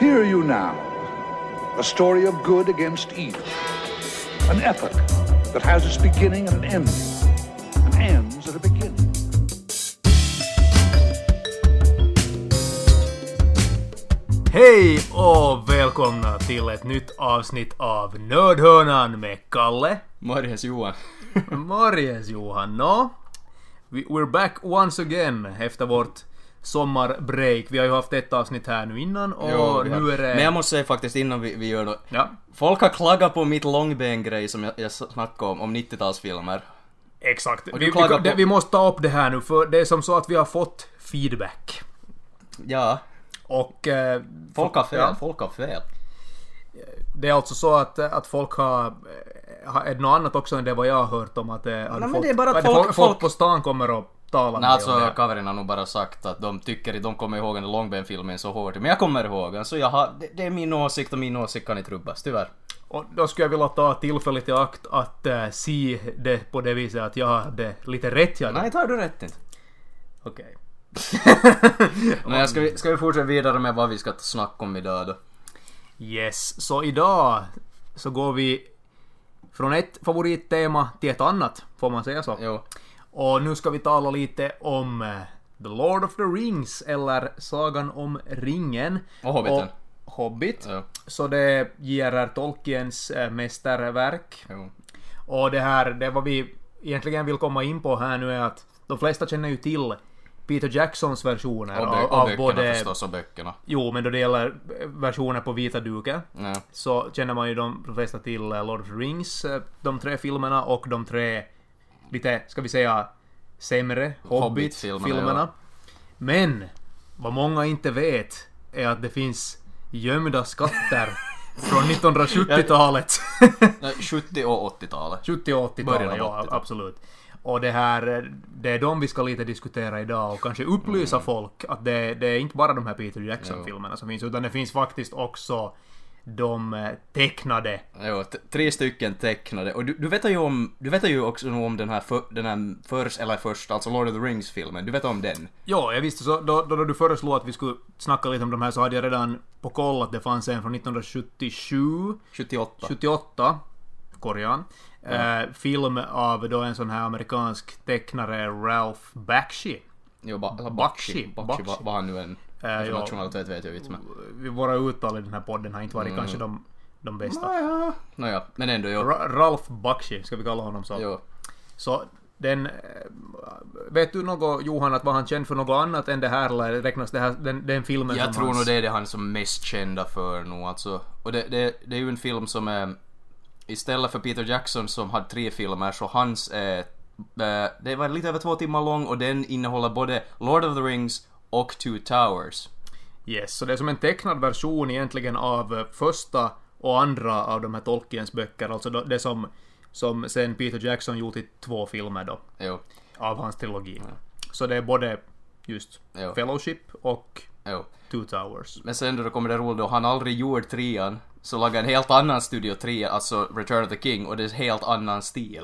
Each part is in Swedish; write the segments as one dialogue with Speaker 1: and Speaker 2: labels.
Speaker 1: Hear you now. A story of good against evil. An epic that has its beginning and an ending, and ends at a beginning.
Speaker 2: Hej och välkomna till ett nytt avsnitt av Nördhörnan med Kalle.
Speaker 3: Morjes Johan.
Speaker 2: Morgens Johan. Nå, vi- We're back once again efter vårt sommarbreak. Vi har ju haft ett avsnitt här nu innan och
Speaker 3: vi har-
Speaker 2: nu är det...
Speaker 3: Men jag måste säga faktiskt innan vi, vi gör det.
Speaker 2: Ja,
Speaker 3: Folk har klagat på mitt långben-grej som jag, jag snackade om, om 90-talsfilmer.
Speaker 2: exakt.
Speaker 3: Och
Speaker 2: Vi,
Speaker 3: du
Speaker 2: vi,
Speaker 3: klagar
Speaker 2: det-
Speaker 3: på-
Speaker 2: vi måste ta upp det här nu för det är som så att vi har fått feedback.
Speaker 3: Ja,
Speaker 2: Och... eh,
Speaker 3: folk har fel,
Speaker 2: ja,
Speaker 3: folk har fel.
Speaker 2: det är alltså så att, att folk har... eh, har- Är det något annat också än det vad jag har hört om att... Nej,
Speaker 3: men det är bara att folk-
Speaker 2: folk...
Speaker 3: folk-
Speaker 2: på stan kommer och talar
Speaker 3: Nej,
Speaker 2: om
Speaker 3: alltså
Speaker 2: det.
Speaker 3: Kaverin har nog bara sagt att de tycker de kommer ihåg den långben-filmen så hårt. Men jag kommer ihåg den, så jag har, det, det är min åsikt och min åsikt kan inte rubbas, tyvärr.
Speaker 2: Och då skulle jag vilja ta tillfället i akt att eh, se det på det viset att jag hade lite rätt. Jag hade.
Speaker 3: Nej, tar du rätt inte.
Speaker 2: Okej.
Speaker 3: Men jag ska, vi, ska vi fortsätta vidare med vad vi ska snacka om idag då?
Speaker 2: Yes, så idag så går vi från ett favorittema till ett annat, får man säga så.
Speaker 3: Jo.
Speaker 2: Och nu ska vi tala lite om eh, The Lord of the Rings, eller Sagan om ringen.
Speaker 3: Och Hobbiten.
Speaker 2: Och Hobbit.
Speaker 3: Jo.
Speaker 2: Så det är J.R.R. Tolkiens eh, mästerverk.
Speaker 3: jo.
Speaker 2: Och det här, det vad vi egentligen vill komma in på här nu är att de flesta känner ju till Peter Jacksons versioner
Speaker 3: Och, bö-
Speaker 2: av,
Speaker 3: och
Speaker 2: av
Speaker 3: böckerna
Speaker 2: både...
Speaker 3: förstås, och böckerna.
Speaker 2: Jo, men då det gäller versioner på vita duken
Speaker 3: Ja.
Speaker 2: så känner man ju de flesta till eh, Lord of the Rings, eh, de tre filmerna och de tre lite, ska vi säga, sämre
Speaker 3: Hobbit-filmerna,
Speaker 2: Hobbit-filmerna.
Speaker 3: ja.
Speaker 2: Men vad många inte vet är att det finns gömda skatter från 1970-talet.
Speaker 3: Nej, 70 och 80-talet.
Speaker 2: 70 och 80-talet,
Speaker 3: Början av
Speaker 2: ja
Speaker 3: 80-talet.
Speaker 2: absolut. Och det här, eh, det är de vi ska lite diskutera idag och kanske upplysa folk att det, det är inte bara de här Peter Jackson-filmerna som finns utan det finns faktiskt också de eh, tecknade.
Speaker 3: Jo, t- tre stycken tecknade. Och du, du vet ju om, du vet ju också nog om den här, för, den här först, eller först, alltså Lord of the Rings-filmen. Du vet om den?
Speaker 2: Ja, jag visste så då, då, då du föreslog att vi skulle snacka lite om de här så hade jag redan på koll att det fanns en från 1977
Speaker 3: 78.
Speaker 2: 78, Korean. Eh, film av då en sån här amerikansk tecknare, Ralph Bakshi.
Speaker 3: Jo, ba, eller
Speaker 2: Bakshi,
Speaker 3: Bakshi. Bakshi,
Speaker 2: Bakshi.
Speaker 3: va- vad han nu än...
Speaker 2: ja.
Speaker 3: Äh, nationalitet vet jag inte men...
Speaker 2: Vi- Våra uttal i den här podden har inte
Speaker 3: Mm.
Speaker 2: varit kanske de, de bästa.
Speaker 3: Nåja. Nåja, men ändå jo.
Speaker 2: Ra- Ralph Bakshi, ska vi kalla honom så.
Speaker 3: jo.
Speaker 2: Så den... eh, Vet du något Johan, att var han känd för något annat än det här eller räknas det här, den, den filmen som
Speaker 3: Jag tror
Speaker 2: hans...
Speaker 3: nog det är det han är som mest kända för nu alltså. Och det, det, det är ju en film som är... Istället för Peter Jackson som hade tre filmer så hans är... eh, Det var lite över två timmar lång och den innehåller både Lord of the Rings och Two Towers.
Speaker 2: Yes, så det är som en tecknad version egentligen av eh, första och andra av de här Tolkiens böcker, alltså då- det som, som sen Peter Jackson gjort i två filmer då,
Speaker 3: Jo,
Speaker 2: av hans trilogi. Så det är både just
Speaker 3: Ja.
Speaker 2: Fellowship och
Speaker 3: jo.
Speaker 2: Two Towers.
Speaker 3: Men sen då det kommer det roliga då, han aldrig gjorde trean, så lagade en helt annan studio tre, alltså Return of the King, och det är en helt annan stil.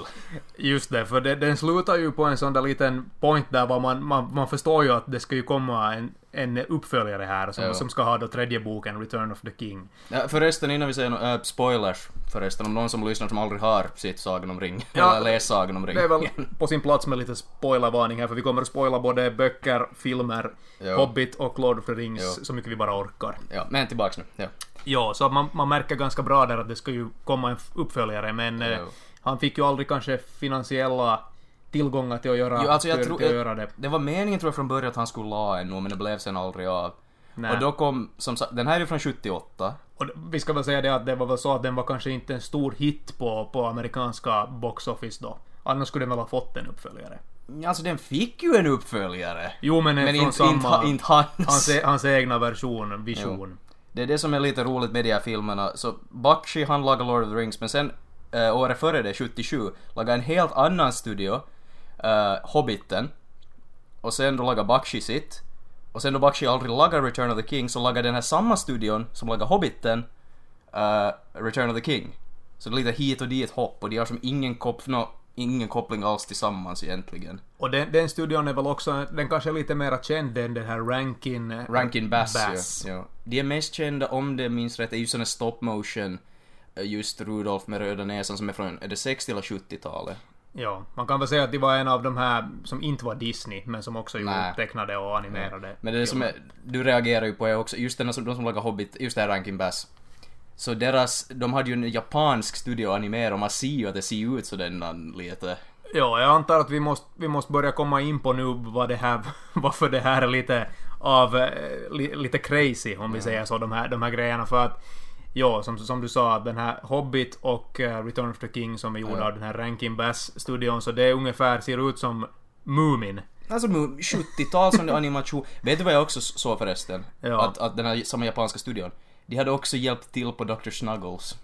Speaker 2: Just det, för det, den slutar ju på en sån där liten point där var man, man, man förstår ju att det ska ju komma en, en uppföljare här som,
Speaker 3: Ja.
Speaker 2: som ska ha då tredje boken, Return of the King.
Speaker 3: Ja, förresten, innan vi säger något, äh, spoilers, förresten, om någon som lyssnar som aldrig har sett Sagan om ring,
Speaker 2: Ja.
Speaker 3: eller läst Sagan om ring.
Speaker 2: Det är väl på sin plats med lite spoilervarning här för vi kommer att spoila både böcker, filmer,
Speaker 3: Ja.
Speaker 2: Hobbit och Lord of the Rings
Speaker 3: Ja.
Speaker 2: så mycket vi bara orkar.
Speaker 3: Ja, men tillbaks nu. Ja.
Speaker 2: Ja, så att man, man märker ganska bra där att det ska ju komma en f- uppföljare men eh,
Speaker 3: Ja.
Speaker 2: han fick ju aldrig kanske finansiella tillgångar till att göra,
Speaker 3: Jo, alltså jag
Speaker 2: till,
Speaker 3: tror,
Speaker 2: till att göra det.
Speaker 3: det var meningen tror jag från början att han skulle la en nu, men det blev sen aldrig av.
Speaker 2: Nej.
Speaker 3: Och då kom, som sagt, den här är ju från 78.
Speaker 2: Och d- vi ska väl säga det att det var väl så att den var kanske inte en stor hit på, på amerikanska box office då. Annars skulle den väl ha fått en uppföljare.
Speaker 3: Alltså den fick ju en uppföljare.
Speaker 2: Jo men, en
Speaker 3: men
Speaker 2: från
Speaker 3: inte,
Speaker 2: samma...
Speaker 3: inte, ha- inte hans.
Speaker 2: hans, e- hans egna version, vision.
Speaker 3: Det är det som är lite roligt med de här filmerna. Så Bakshi han lagade Lord of the Rings men sen eh, året före det, 77, lagade en helt annan studio, eh, Hobbiten. Och sen då lagade Bakshi sitt. Och sen då Bakshi aldrig lagade Return of the King så lagade den här samma studion som lagade Hobbiten eh, Return of the King. Så det är lite hit och dit hopp och de har som ingen kopp, nå, ingen koppling alls tillsammans egentligen.
Speaker 2: Och den, den studion är väl också, den kanske är lite mer känd än den här Rankin...
Speaker 3: Rankin Bass, Ja, ja. De är mest kända, om det minns rätt, är ju såna stop motion, eh, just Rudolf med röda näsan som är från, är det 60 eller 70-talet?
Speaker 2: Ja, man kan väl säga att det var en av de här som inte var Disney, men som också gjorde
Speaker 3: Nej.
Speaker 2: tecknade och animerade.
Speaker 3: Men det är som
Speaker 2: filmer.
Speaker 3: är, du reagerar ju på är också, just den som, de som lagar Hobbit, just det här Rankin Bass. Så deras, de hade ju en japansk studio att animera och man ser ju att det ser ut så den lite.
Speaker 2: Ja, jag antar att vi måste, vi måste börja komma in på nu vad det här, varför det här är lite av, eh, li, lite crazy om vi säger så, de här, de här grejerna. För att, ja, som, som du sa, att den här Hobbit och eh, Return of the King som är gjorda av den här Rankin Bass-studion, så det är ungefär, ser ut som Mumin.
Speaker 3: Alltså mu- 70-tal som det animation. Vet du vad jag också s- såg förresten?
Speaker 2: Ja.
Speaker 3: Att, att den här samma japanska studion. De hade också hjälpt till på Dr. Snuggles.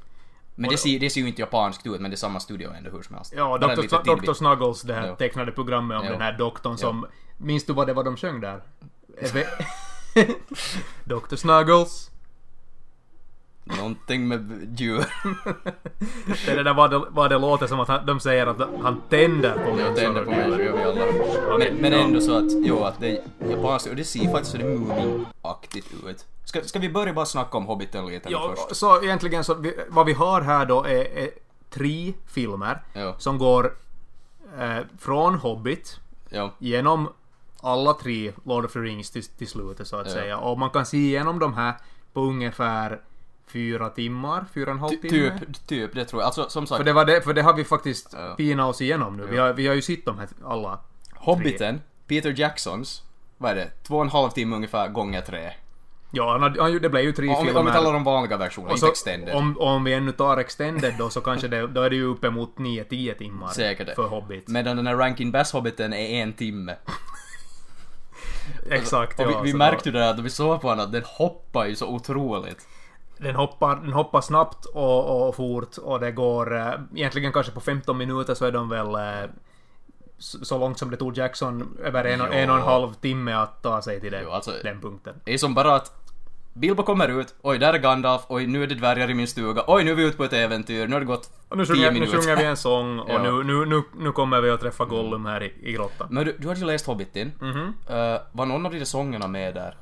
Speaker 3: Men det ser, det ser ju inte japanskt ut, men det är samma studio ändå hur som helst.
Speaker 2: Ja,
Speaker 3: Bara en liten
Speaker 2: Dr.
Speaker 3: tidbit.
Speaker 2: Dr. Snuggles, det här
Speaker 3: Ja.
Speaker 2: tecknade programmet om
Speaker 3: Ja.
Speaker 2: den här doktorn som... Minns du vad det var de sjöng där? Eve- Dr. Snuggles.
Speaker 3: Någonting med djur.
Speaker 2: Det är det där vad det, vad det låter som att han, de säger att han tänder på människor.
Speaker 3: Jag tänder på människor, gör vi alla. Men, men ändå så att, jo att det är japanskt, och det ser faktiskt så det är Moomin-aktigt ut. Ska, ska vi börja bara snacka om Hobbiten lite
Speaker 2: Ja,
Speaker 3: först?
Speaker 2: så egentligen så vi, vad vi har här då är, är tre filmer
Speaker 3: Ja.
Speaker 2: som går eh, från Hobbit
Speaker 3: Ja.
Speaker 2: genom alla tre Lord of the Rings till, till slutet så att säga. Och man kan se igenom de här på ungefär fyra timmar, fyra och en halv
Speaker 3: Ty-
Speaker 2: timme.
Speaker 3: Typ, typ, det tror jag. Alltså som sagt,
Speaker 2: För det, var det, för det har vi faktiskt
Speaker 3: Ja.
Speaker 2: pinat oss igenom nu. Vi, har, vi har ju sett de här alla.
Speaker 3: Hobbiten, Peter Jacksons, vad är det, två och en halv timme ungefär gånger tre.
Speaker 2: Ja, han hade, han, gjorde- det blev ju tre
Speaker 3: Om, vi-
Speaker 2: filmer.
Speaker 3: om vi talar om vanliga versioner,
Speaker 2: Och
Speaker 3: inte
Speaker 2: så,
Speaker 3: extended.
Speaker 2: Alltså, om, om vi ännu tar extended då så kanske det, då är det ju uppemot 9-10 timmar
Speaker 3: Säkert det.
Speaker 2: för Hobbit.
Speaker 3: Medan den här Rankin Bass Hobbiten är en timme.
Speaker 2: Exakt,
Speaker 3: alltså, Och
Speaker 2: ja,
Speaker 3: vi, vi
Speaker 2: så
Speaker 3: märkte ju det där att vi såg på honom att den hoppar ju så otroligt.
Speaker 2: Den hoppar, den hoppar snabbt och, och fort och det går... eh, Egentligen kanske på 15 minuter så är de väl... eh, Så så långt som det tog Jackson över en, och-
Speaker 3: Ja.
Speaker 2: en och en halv timme att ta sig till den,
Speaker 3: Jo, alltså-
Speaker 2: den punkten.
Speaker 3: Det är som bara att Bilbo kommer ut, oj där är Gandalf, oj nu är det dvärgar i min stuga, oj nu är vi ute på ett äventyr, nu har det gått
Speaker 2: Och nu
Speaker 3: 10
Speaker 2: sjunger, nu
Speaker 3: minuter.
Speaker 2: sjunger vi en sång och
Speaker 3: Ja. Mm.
Speaker 2: nu, nu, nu, nu kommer vi att träffa Gollum här i, i grottan.
Speaker 3: Men du, du hade ju läst Hobbiten.
Speaker 2: Mhm.
Speaker 3: Eh, var någon av de där sångerna med där?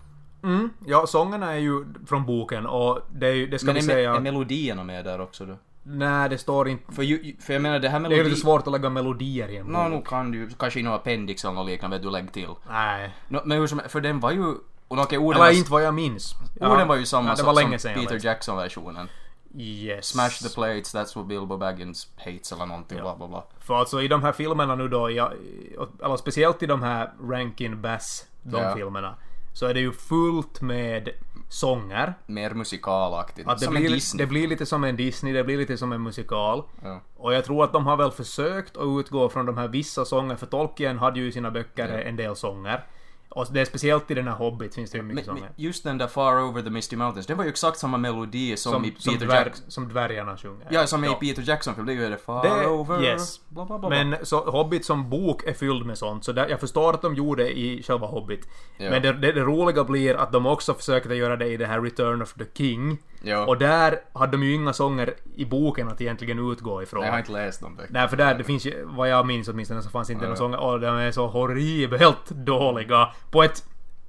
Speaker 2: Mm, ja, sångerna är ju från boken och det, är ju- det ska
Speaker 3: Men
Speaker 2: vi
Speaker 3: är, me-
Speaker 2: säga...
Speaker 3: är melodierna med där också då?
Speaker 2: Nej, det står inte...
Speaker 3: För, ju, ju- för jag menar det här
Speaker 2: Det är
Speaker 3: melodi...
Speaker 2: ju lite svårt att lägga melodier i en bok.
Speaker 3: Nå, nu kan du kanske i någon appendix eller något liknande du lägger till.
Speaker 2: Nej.
Speaker 3: Nå, men hur som för den var ju... Och okej, orden,
Speaker 2: Eller
Speaker 3: var,
Speaker 2: inte vad jag minns.
Speaker 3: alltså, orden var ju samma
Speaker 2: ja, det
Speaker 3: som-
Speaker 2: var länge
Speaker 3: som
Speaker 2: sedan jag
Speaker 3: Peter
Speaker 2: läste.
Speaker 3: Jackson-versionen.
Speaker 2: Yes.
Speaker 3: Smash the plates, that's what Bilbo Baggins hates eller någonting, bla bla bla.
Speaker 2: För alltså i de här filmerna nu då, ja, eller speciellt i de här Rankin Bass, de
Speaker 3: Ja.
Speaker 2: filmerna, så är det ju fullt med sånger.
Speaker 3: Mer musikalaktigt.
Speaker 2: Att det,
Speaker 3: som en
Speaker 2: blir,
Speaker 3: Disney.
Speaker 2: det blir lite som en Disney, det blir lite som en musikal.
Speaker 3: Ja.
Speaker 2: Och jag tror att de har väl försökt att utgå från de här vissa sånger, för Tolkien hade ju i sina böcker
Speaker 3: Ja.
Speaker 2: en del sånger. Och det är speciellt i den här Hobbit finns det ju mycket
Speaker 3: Men, men
Speaker 2: sånger.
Speaker 3: just den där Far Over the Misty Mountains, det var ju exakt samma melodi som, i
Speaker 2: Som, som,
Speaker 3: Peter
Speaker 2: dvärg,
Speaker 3: Jackson.
Speaker 2: som dvärgarna sjunger.
Speaker 3: Ja, som i Peter Jackson film, det är ju det Far
Speaker 2: Det-
Speaker 3: Over...
Speaker 2: yes.
Speaker 3: Bla, bla, bla, bla.
Speaker 2: Men så Hobbit som bok är fylld med sånt, så där, jag förstår att de gjorde det i själva Hobbit.
Speaker 3: Ja.
Speaker 2: Men det, det, det roliga blir att de också försökte göra det i det här Return of the King.
Speaker 3: Ja.
Speaker 2: Och där hade de ju inga sånger i boken att egentligen utgå ifrån.
Speaker 3: Jag har inte läst de böckerna.
Speaker 2: Nej, för där, det finns ju, vad jag minns åtminstone, så fanns inte några sånger. Och de är så horribelt dåliga på ett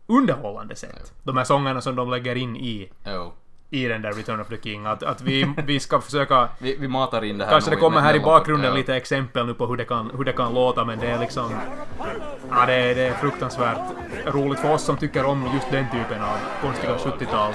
Speaker 2: underhållande sätt. De här sångerna som de lägger in i,
Speaker 3: Jo.
Speaker 2: i den där Return of the King. Att, att vi, vi ska försöka
Speaker 3: Vi, vi matar in det här
Speaker 2: Kanske det
Speaker 3: nog
Speaker 2: kommer här i
Speaker 3: mellanåt.
Speaker 2: bakgrunden
Speaker 3: Ja.
Speaker 2: lite exempel nu på hur det kan, hur det kan låta men det är liksom... Ja, det, är- det är fruktansvärt roligt för oss som tycker om just den typen av konstiga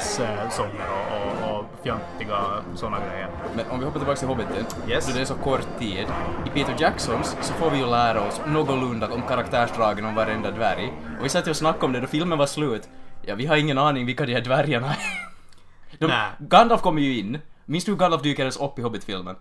Speaker 2: 70-talssånger och, och, och fjantiga såna grejer.
Speaker 3: Men om vi hoppar tillbaka till Hobbiten,
Speaker 2: Yes.
Speaker 3: då det är så kort tid. I Peter Jacksons så får vi ju lära oss någorlunda om karaktärsdragen om varenda dvärg. Och vi satt ju och snackade om det då filmen var slut. Ja, vi har ingen aning vilka de här dvärgarna är. De,
Speaker 2: Nä.
Speaker 3: Gandalf kommer ju in. Minns du hur Gandalf dyker ens upp i Hobbit-filmen?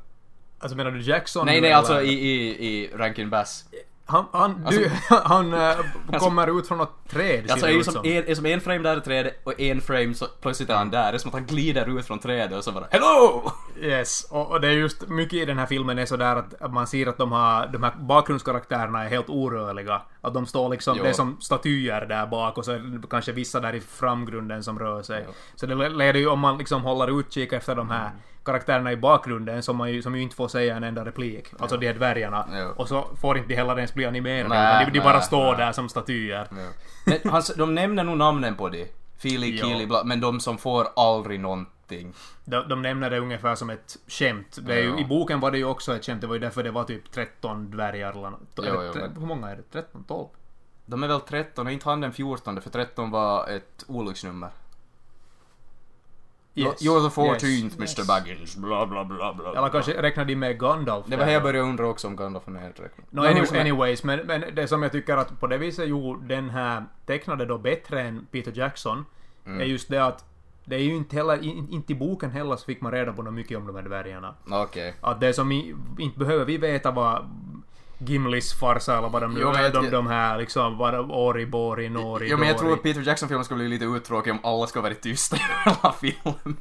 Speaker 2: Alltså menar du Jackson?
Speaker 3: Nej,
Speaker 2: nu,
Speaker 3: nej, alltså
Speaker 2: eller?
Speaker 3: i, i, i Rankin Bass.
Speaker 2: Han, han, du, han eh, kommer ut från något träd ser
Speaker 3: Alltså
Speaker 2: det
Speaker 3: är ju
Speaker 2: ut
Speaker 3: som en, är som en frame där i trädet och en frame så plötsligt är han där. Det är som att han glider ut från trädet och så bara HELLO!
Speaker 2: Yes, och, och det är just mycket i den här filmen är sådär att att man ser att de, har, de här bakgrundskaraktärerna är helt orörliga. Att de står liksom,
Speaker 3: Jo.
Speaker 2: det är som statyer där bak och så är det
Speaker 3: Mm.
Speaker 2: kanske vissa där i framgrunden som rör sig. Så det le- leder ju, om man liksom håller utkik efter de här karaktärerna i bakgrunden som, man ju, som ju inte får säga en enda replik. Alltså de här dvärgarna.
Speaker 3: Jo.
Speaker 2: Och så får inte de heller ens bli animerade.
Speaker 3: Nej,
Speaker 2: utan de, de bara
Speaker 3: nej,
Speaker 2: står
Speaker 3: nej.
Speaker 2: där som statyer.
Speaker 3: Men hans, de nämner nog namnen på de. Fili,
Speaker 2: Ja.
Speaker 3: Kili, bla, men de som får aldrig någonting.
Speaker 2: De, de nämner det ungefär som ett skämt. Det är ju,
Speaker 3: Ja.
Speaker 2: I boken var det ju också ett skämt. Det var ju därför det var typ 13 dvärgar. Eller, nåt.
Speaker 3: Jo,
Speaker 2: eller
Speaker 3: jo,
Speaker 2: tre,
Speaker 3: men-
Speaker 2: Hur många är det? 13? 12?
Speaker 3: De är väl 13, är inte han den 14 för 13 var ett olycksnummer.
Speaker 2: Yes.
Speaker 3: You're the
Speaker 2: Yes.
Speaker 3: 14th Mr Baggins, bla bla bla bla.
Speaker 2: Eller kanske räknar de med Gandalf?
Speaker 3: Det var här jag började undra också om Gandalf var nedräknad.
Speaker 2: No,
Speaker 3: Men hur
Speaker 2: anyways,
Speaker 3: som helst-
Speaker 2: anyways men, men det som jag tycker att på det viset gjorde den här tecknade då bättre än Peter Jackson
Speaker 3: Mm.
Speaker 2: är just det att det är ju inte heller, in, inte i boken heller så fick man reda på något mycket om de här dvärgarna.
Speaker 3: Okej.
Speaker 2: Att det är som i, inte behöver vi veta vad Gimlis farsa eller vad de nu
Speaker 3: Jo, men jag-
Speaker 2: de, de här liksom, vad de, Ori, Bori, Nori,
Speaker 3: Jo men jag
Speaker 2: Dori.
Speaker 3: tror att Peter Jackson-filmen skulle bli lite uttråkig om alla skulle vara tysta i hela filmen.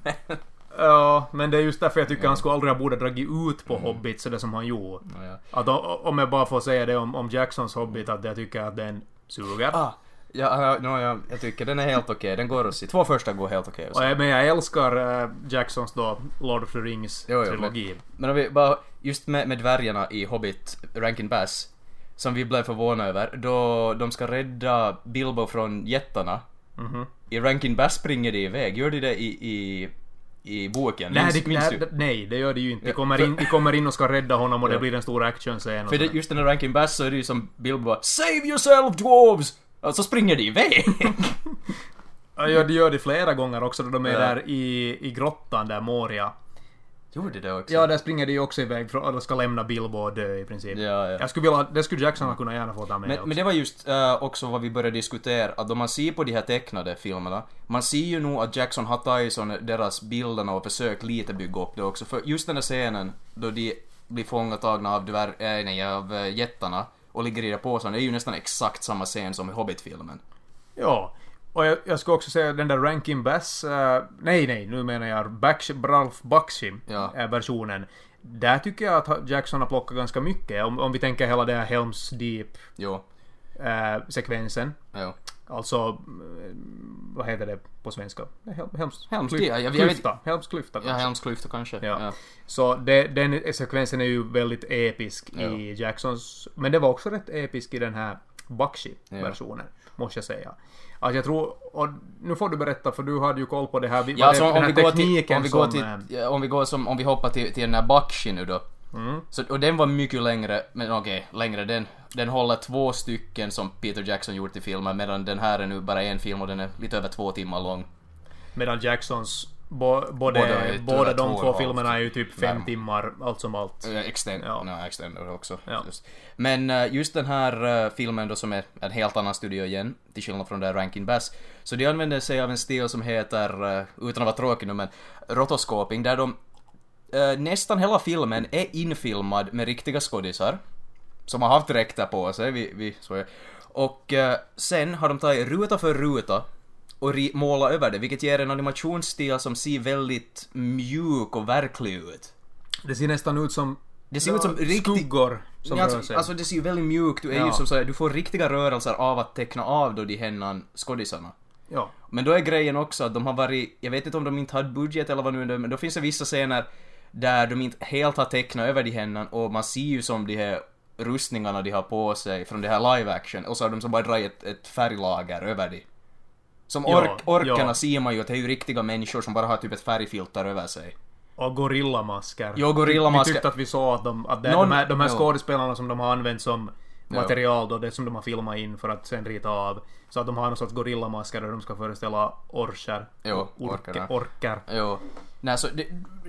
Speaker 2: Ja, men det är just därför jag tycker han skulle aldrig ha borde ha dragit ut på Hobbit sådär som han gjorde.
Speaker 3: Mm. Ja.
Speaker 2: Att o- om jag bara får säga det om, om Jacksons Hobbit att jag tycker att den suger.
Speaker 3: Ah, ja, ja, no, ja, jag tycker den är helt okej, den går att se. Två första går helt okej. att se.
Speaker 2: Och jag- Men jag älskar eh, Jacksons då Lord of the Rings-trilogi.
Speaker 3: Jo, jo, Men om vi bara, just med, med dvärgarna i Hobbit, Rankin Bass, som vi blev förvånade över, då de ska rädda Bilbo från jättarna.
Speaker 2: Mhm.
Speaker 3: I Rankin Bass springer de iväg, gör de det i, i, i boken?
Speaker 2: Nej,
Speaker 3: Minns-
Speaker 2: det,
Speaker 3: minns
Speaker 2: nej,
Speaker 3: du?
Speaker 2: det- nej, det gör det ju inte. De
Speaker 3: Ja,
Speaker 2: kommer
Speaker 3: för-
Speaker 2: in, de kommer in och ska rädda honom och det
Speaker 3: Ja.
Speaker 2: blir en stor actionscen. och
Speaker 3: För det,
Speaker 2: sådär.
Speaker 3: just den här Rankin Bass så är det ju som Bilbo bara, Save yourself dwarves! Och så springer de iväg!
Speaker 2: Ja, ja, det gör det flera gånger också då de är
Speaker 3: Ja.
Speaker 2: där i, i grottan där, Moria.
Speaker 3: Gjorde de det också?
Speaker 2: Ja, där springer de ju också iväg från, eller ska lämna Bilbo och dö i princip.
Speaker 3: Ja, ja.
Speaker 2: Jag skulle vilja, det skulle Jackson kunna gärna få ta med också.
Speaker 3: Men, men det var just eh, också vad vi började diskutera, att om man ser på de här tecknade filmerna, man ser ju nog att Jackson har tagit sån- deras bilderna och försökt lite bygga upp det också, för just den där scenen då de blir fångatagna av, dvär, eh, nej, av eh, jättarna och ligger i den påsen, det är ju nästan exakt samma scen som i Hobbit-filmen.
Speaker 2: Ja. Och jag, jag ska också säga den där Rankin Bass... eh, nej, nej, nu menar jag Baksh, Ralph
Speaker 3: Ja.
Speaker 2: Bakshi-versionen. Där tycker jag att Jackson har plockat ganska mycket. Om, om vi tänker hela den här Helms
Speaker 3: Jo,
Speaker 2: Deep-sekvensen.
Speaker 3: jo.
Speaker 2: alltså, eh, vad heter det på svenska? Hel, Helms...
Speaker 3: Helms
Speaker 2: klyf-
Speaker 3: Deep, jag- jag vet-
Speaker 2: klyfta. Helms klyfta.
Speaker 3: Ja,
Speaker 2: kanske.
Speaker 3: Helms klyfta kanske.
Speaker 2: Ja. Så det, den sekvensen är ju väldigt episk i Jacksons... Men det var också rätt episk i den här Bakshi-versionen, måste jag säga. Alltså jag tror... Och nu får du berätta, för du hade ju koll på det här.
Speaker 3: Ja,
Speaker 2: var
Speaker 3: alltså,
Speaker 2: det,
Speaker 3: om,
Speaker 2: den
Speaker 3: vi
Speaker 2: här
Speaker 3: går till,
Speaker 2: tekniken
Speaker 3: om vi går
Speaker 2: som,
Speaker 3: till,
Speaker 2: eh, Mm.
Speaker 3: ja, om vi går som, om vi hoppar till, till den här Bakshi nu då. Så, och den var mycket längre, men okej, längre den. Den håller två stycken som Peter Jackson gjort i filmen medan den här är nu bara en film och den är lite över två timmar lång.
Speaker 2: Medan Jacksons... Bo, både,
Speaker 3: Båda är-
Speaker 2: båda
Speaker 3: två och
Speaker 2: de
Speaker 3: en
Speaker 2: två
Speaker 3: halv
Speaker 2: filmerna är ju typ fem
Speaker 3: närmare.
Speaker 2: timmar, allt som allt.
Speaker 3: Eh, Extend,
Speaker 2: Ja.
Speaker 3: ja. extender också.
Speaker 2: Ja.
Speaker 3: Just. Men eh, just den här eh, filmen då som är en helt annan studio igen, till skillnad från där Rankin Bass. Så de använder sig av en stil som heter, eh, utan att vara tråkig nu men, rotoscoping, där de eh, nästan hela filmen är infilmad med riktiga skådisar. Som har haft dräkter på sig, vi, vi så är. Och eh, sen har de tagit ruta för ruta och ri- målat över det, vilket ger en animationsstil som ser väldigt mjuk och verklig ut.
Speaker 2: Det ser nästan ut som...
Speaker 3: Det ser ut som riktigt-
Speaker 2: Skuggor som
Speaker 3: Ja,
Speaker 2: rör
Speaker 3: alltså,
Speaker 2: sig.
Speaker 3: alltså det ser ju väldigt mjukt ut, Det är
Speaker 2: Ja.
Speaker 3: ju som så här, du får riktiga rörelser av att teckna av då de hennan skådisarna.
Speaker 2: ja.
Speaker 3: Men då är grejen också att de har varit, jag vet inte om de inte hade budget eller vad nu är det, men då finns det vissa scener där de inte helt har tecknat över de hennan och man ser ju som de här rustningarna de har på sig från det här live action och så har de som bara dragit ett, ett färglager över det. Som
Speaker 2: Ja,
Speaker 3: ork, orkarna
Speaker 2: ja.
Speaker 3: ser man ju att det är ju riktiga människor som bara har typ ett färgfilter över sig.
Speaker 2: Och gorillamasker.
Speaker 3: Ja, gorillamasker.
Speaker 2: Vi tyckte att vi såg att de, att det,
Speaker 3: Någon-
Speaker 2: de här, de här
Speaker 3: ja.
Speaker 2: skådespelarna som de har använt som material då, det som de har filmat in för att sen rita av. Så att de har någon sorts gorillamasker där de ska föreställa orcher.
Speaker 3: Jo,
Speaker 2: orker.
Speaker 3: orkarna.
Speaker 2: orker.
Speaker 3: Jo. Nej, så det,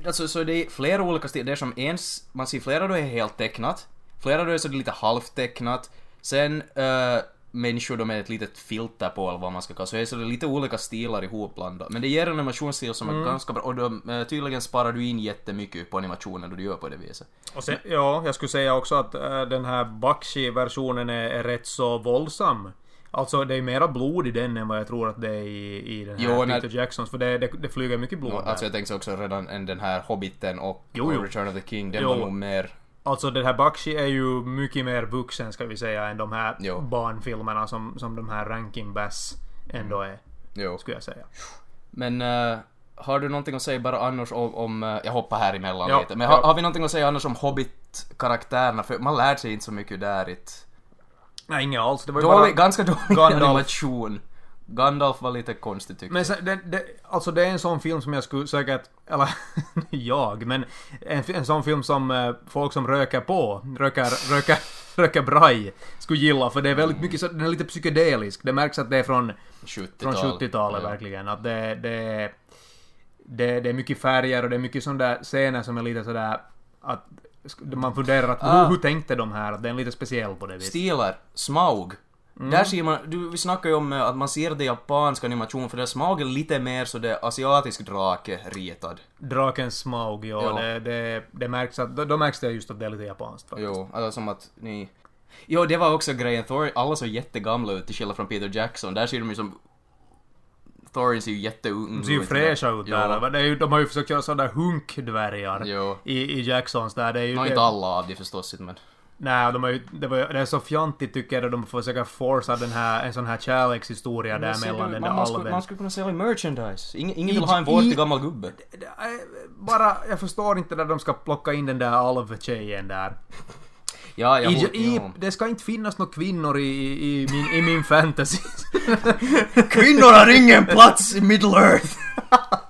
Speaker 3: alltså, så det är flera olika stilar. Det är som ens, man ser flera då är helt tecknat. Flera då är så det är lite halvtecknat. Sen eh, människor då med ett litet filter på eller vad man ska kalla så det. är Så det är lite olika stilar ihopblandat. Men det ger en animationsstil som
Speaker 2: Mm.
Speaker 3: är ganska bra och de, eh, tydligen sparar du in jättemycket på animationen då du gör på det viset.
Speaker 2: Och sen, ja, jag skulle säga också att eh, den här Bakshi-versionen är, är rätt så våldsam. Alltså det är mera blod i den än vad jag tror att det är i, i den här
Speaker 3: Jo, när-
Speaker 2: Peter Jacksons. För det, det, det flyger mycket blod där.
Speaker 3: Alltså jag tänkte också redan en- den här Hobbiten och,
Speaker 2: Jo, jo.
Speaker 3: och Return of the King, den
Speaker 2: Jo.
Speaker 3: var nog mer...
Speaker 2: Alltså den här Bakshi är ju mycket mer vuxen ska vi säga än de här
Speaker 3: Jo.
Speaker 2: barnfilmerna
Speaker 3: Mm.
Speaker 2: som, som de här Rankin Bass ändå är.
Speaker 3: Jo.
Speaker 2: Skulle jag säga.
Speaker 3: Men eh, Har du någonting att säga bara annars om, om eh, jag hoppar här emellan
Speaker 2: Ja,
Speaker 3: lite, men har,
Speaker 2: ja.
Speaker 3: har vi någonting att säga annars om Hobbit-karaktärerna? För man lär sig inte så mycket där. It.
Speaker 2: Nej, inget alls. Det var ju
Speaker 3: Dålig,
Speaker 2: bara...
Speaker 3: ganska dålig
Speaker 2: Gandalf.
Speaker 3: animation. Gandalf var lite konstig tyckte
Speaker 2: Men
Speaker 3: jag.
Speaker 2: sen, det, det, alltså det är en sån film som jag skulle säkert... Eller, jag, men en, fi- en sån film som eh, folk som röker på, röker, röker, röker braj, skulle gilla. För det är väldigt mycket så, den är lite psykedelisk. Det märks att det är från
Speaker 3: 70-tal.
Speaker 2: från 70-talet
Speaker 3: Ja.
Speaker 2: verkligen. Att det, det, det, det är mycket färger och det är mycket sådana där scener som är lite sådär att sk- man funderar att
Speaker 3: Ah.
Speaker 2: hur, hur tänkte de här? Att det är lite speciell på det viset.
Speaker 3: Stilar, Smaug.
Speaker 2: Mm.
Speaker 3: Där ser man, du, vi snackar ju om eh, att man ser det i japansk animation för där Smaug är lite mer så det asiatisk drake ritad.
Speaker 2: Draken Smaug, ja.
Speaker 3: Ja.
Speaker 2: Det, det, det märks att, då, då märks det just att det är lite japanskt. faktiskt.
Speaker 3: Jo, alltså som att ni... Jo, det var också grejen, Thor, alla såg jättegamla ut till skillnad från Peter Jackson, där ser de ju som... Thorin ser ju jätteung ut.
Speaker 2: De ser ju fräscha ut
Speaker 3: Jo.
Speaker 2: där. Men Det är ju, de har ju försökt göra sådana där hunkdvärgar
Speaker 3: Jo.
Speaker 2: i, i Jacksons där. Det är ju
Speaker 3: Nå,
Speaker 2: det-
Speaker 3: inte alla av det förstås inte, men...
Speaker 2: Nej, de har ju, det, var, det är så fjantigt tycker jag att de försöker forsa den här, en sån här kärlekshistoria där mellan den där
Speaker 3: man, skulle,
Speaker 2: alven.
Speaker 3: man skulle kunna sälja merchandise. Ingen, ingen vill
Speaker 2: I-
Speaker 3: ha en vårtig
Speaker 2: i-
Speaker 3: gammal gubbe.
Speaker 2: Det är Äh, Bara, jag förstår inte när de ska plocka in den där alvtjejen där.
Speaker 3: Ja,
Speaker 2: I,
Speaker 3: jag... hot-
Speaker 2: i,
Speaker 3: jo.
Speaker 2: det ska inte finnas några kvinnor i, i, i, min, i min fantasy.
Speaker 3: Kvinnor har ingen plats i Middle Earth!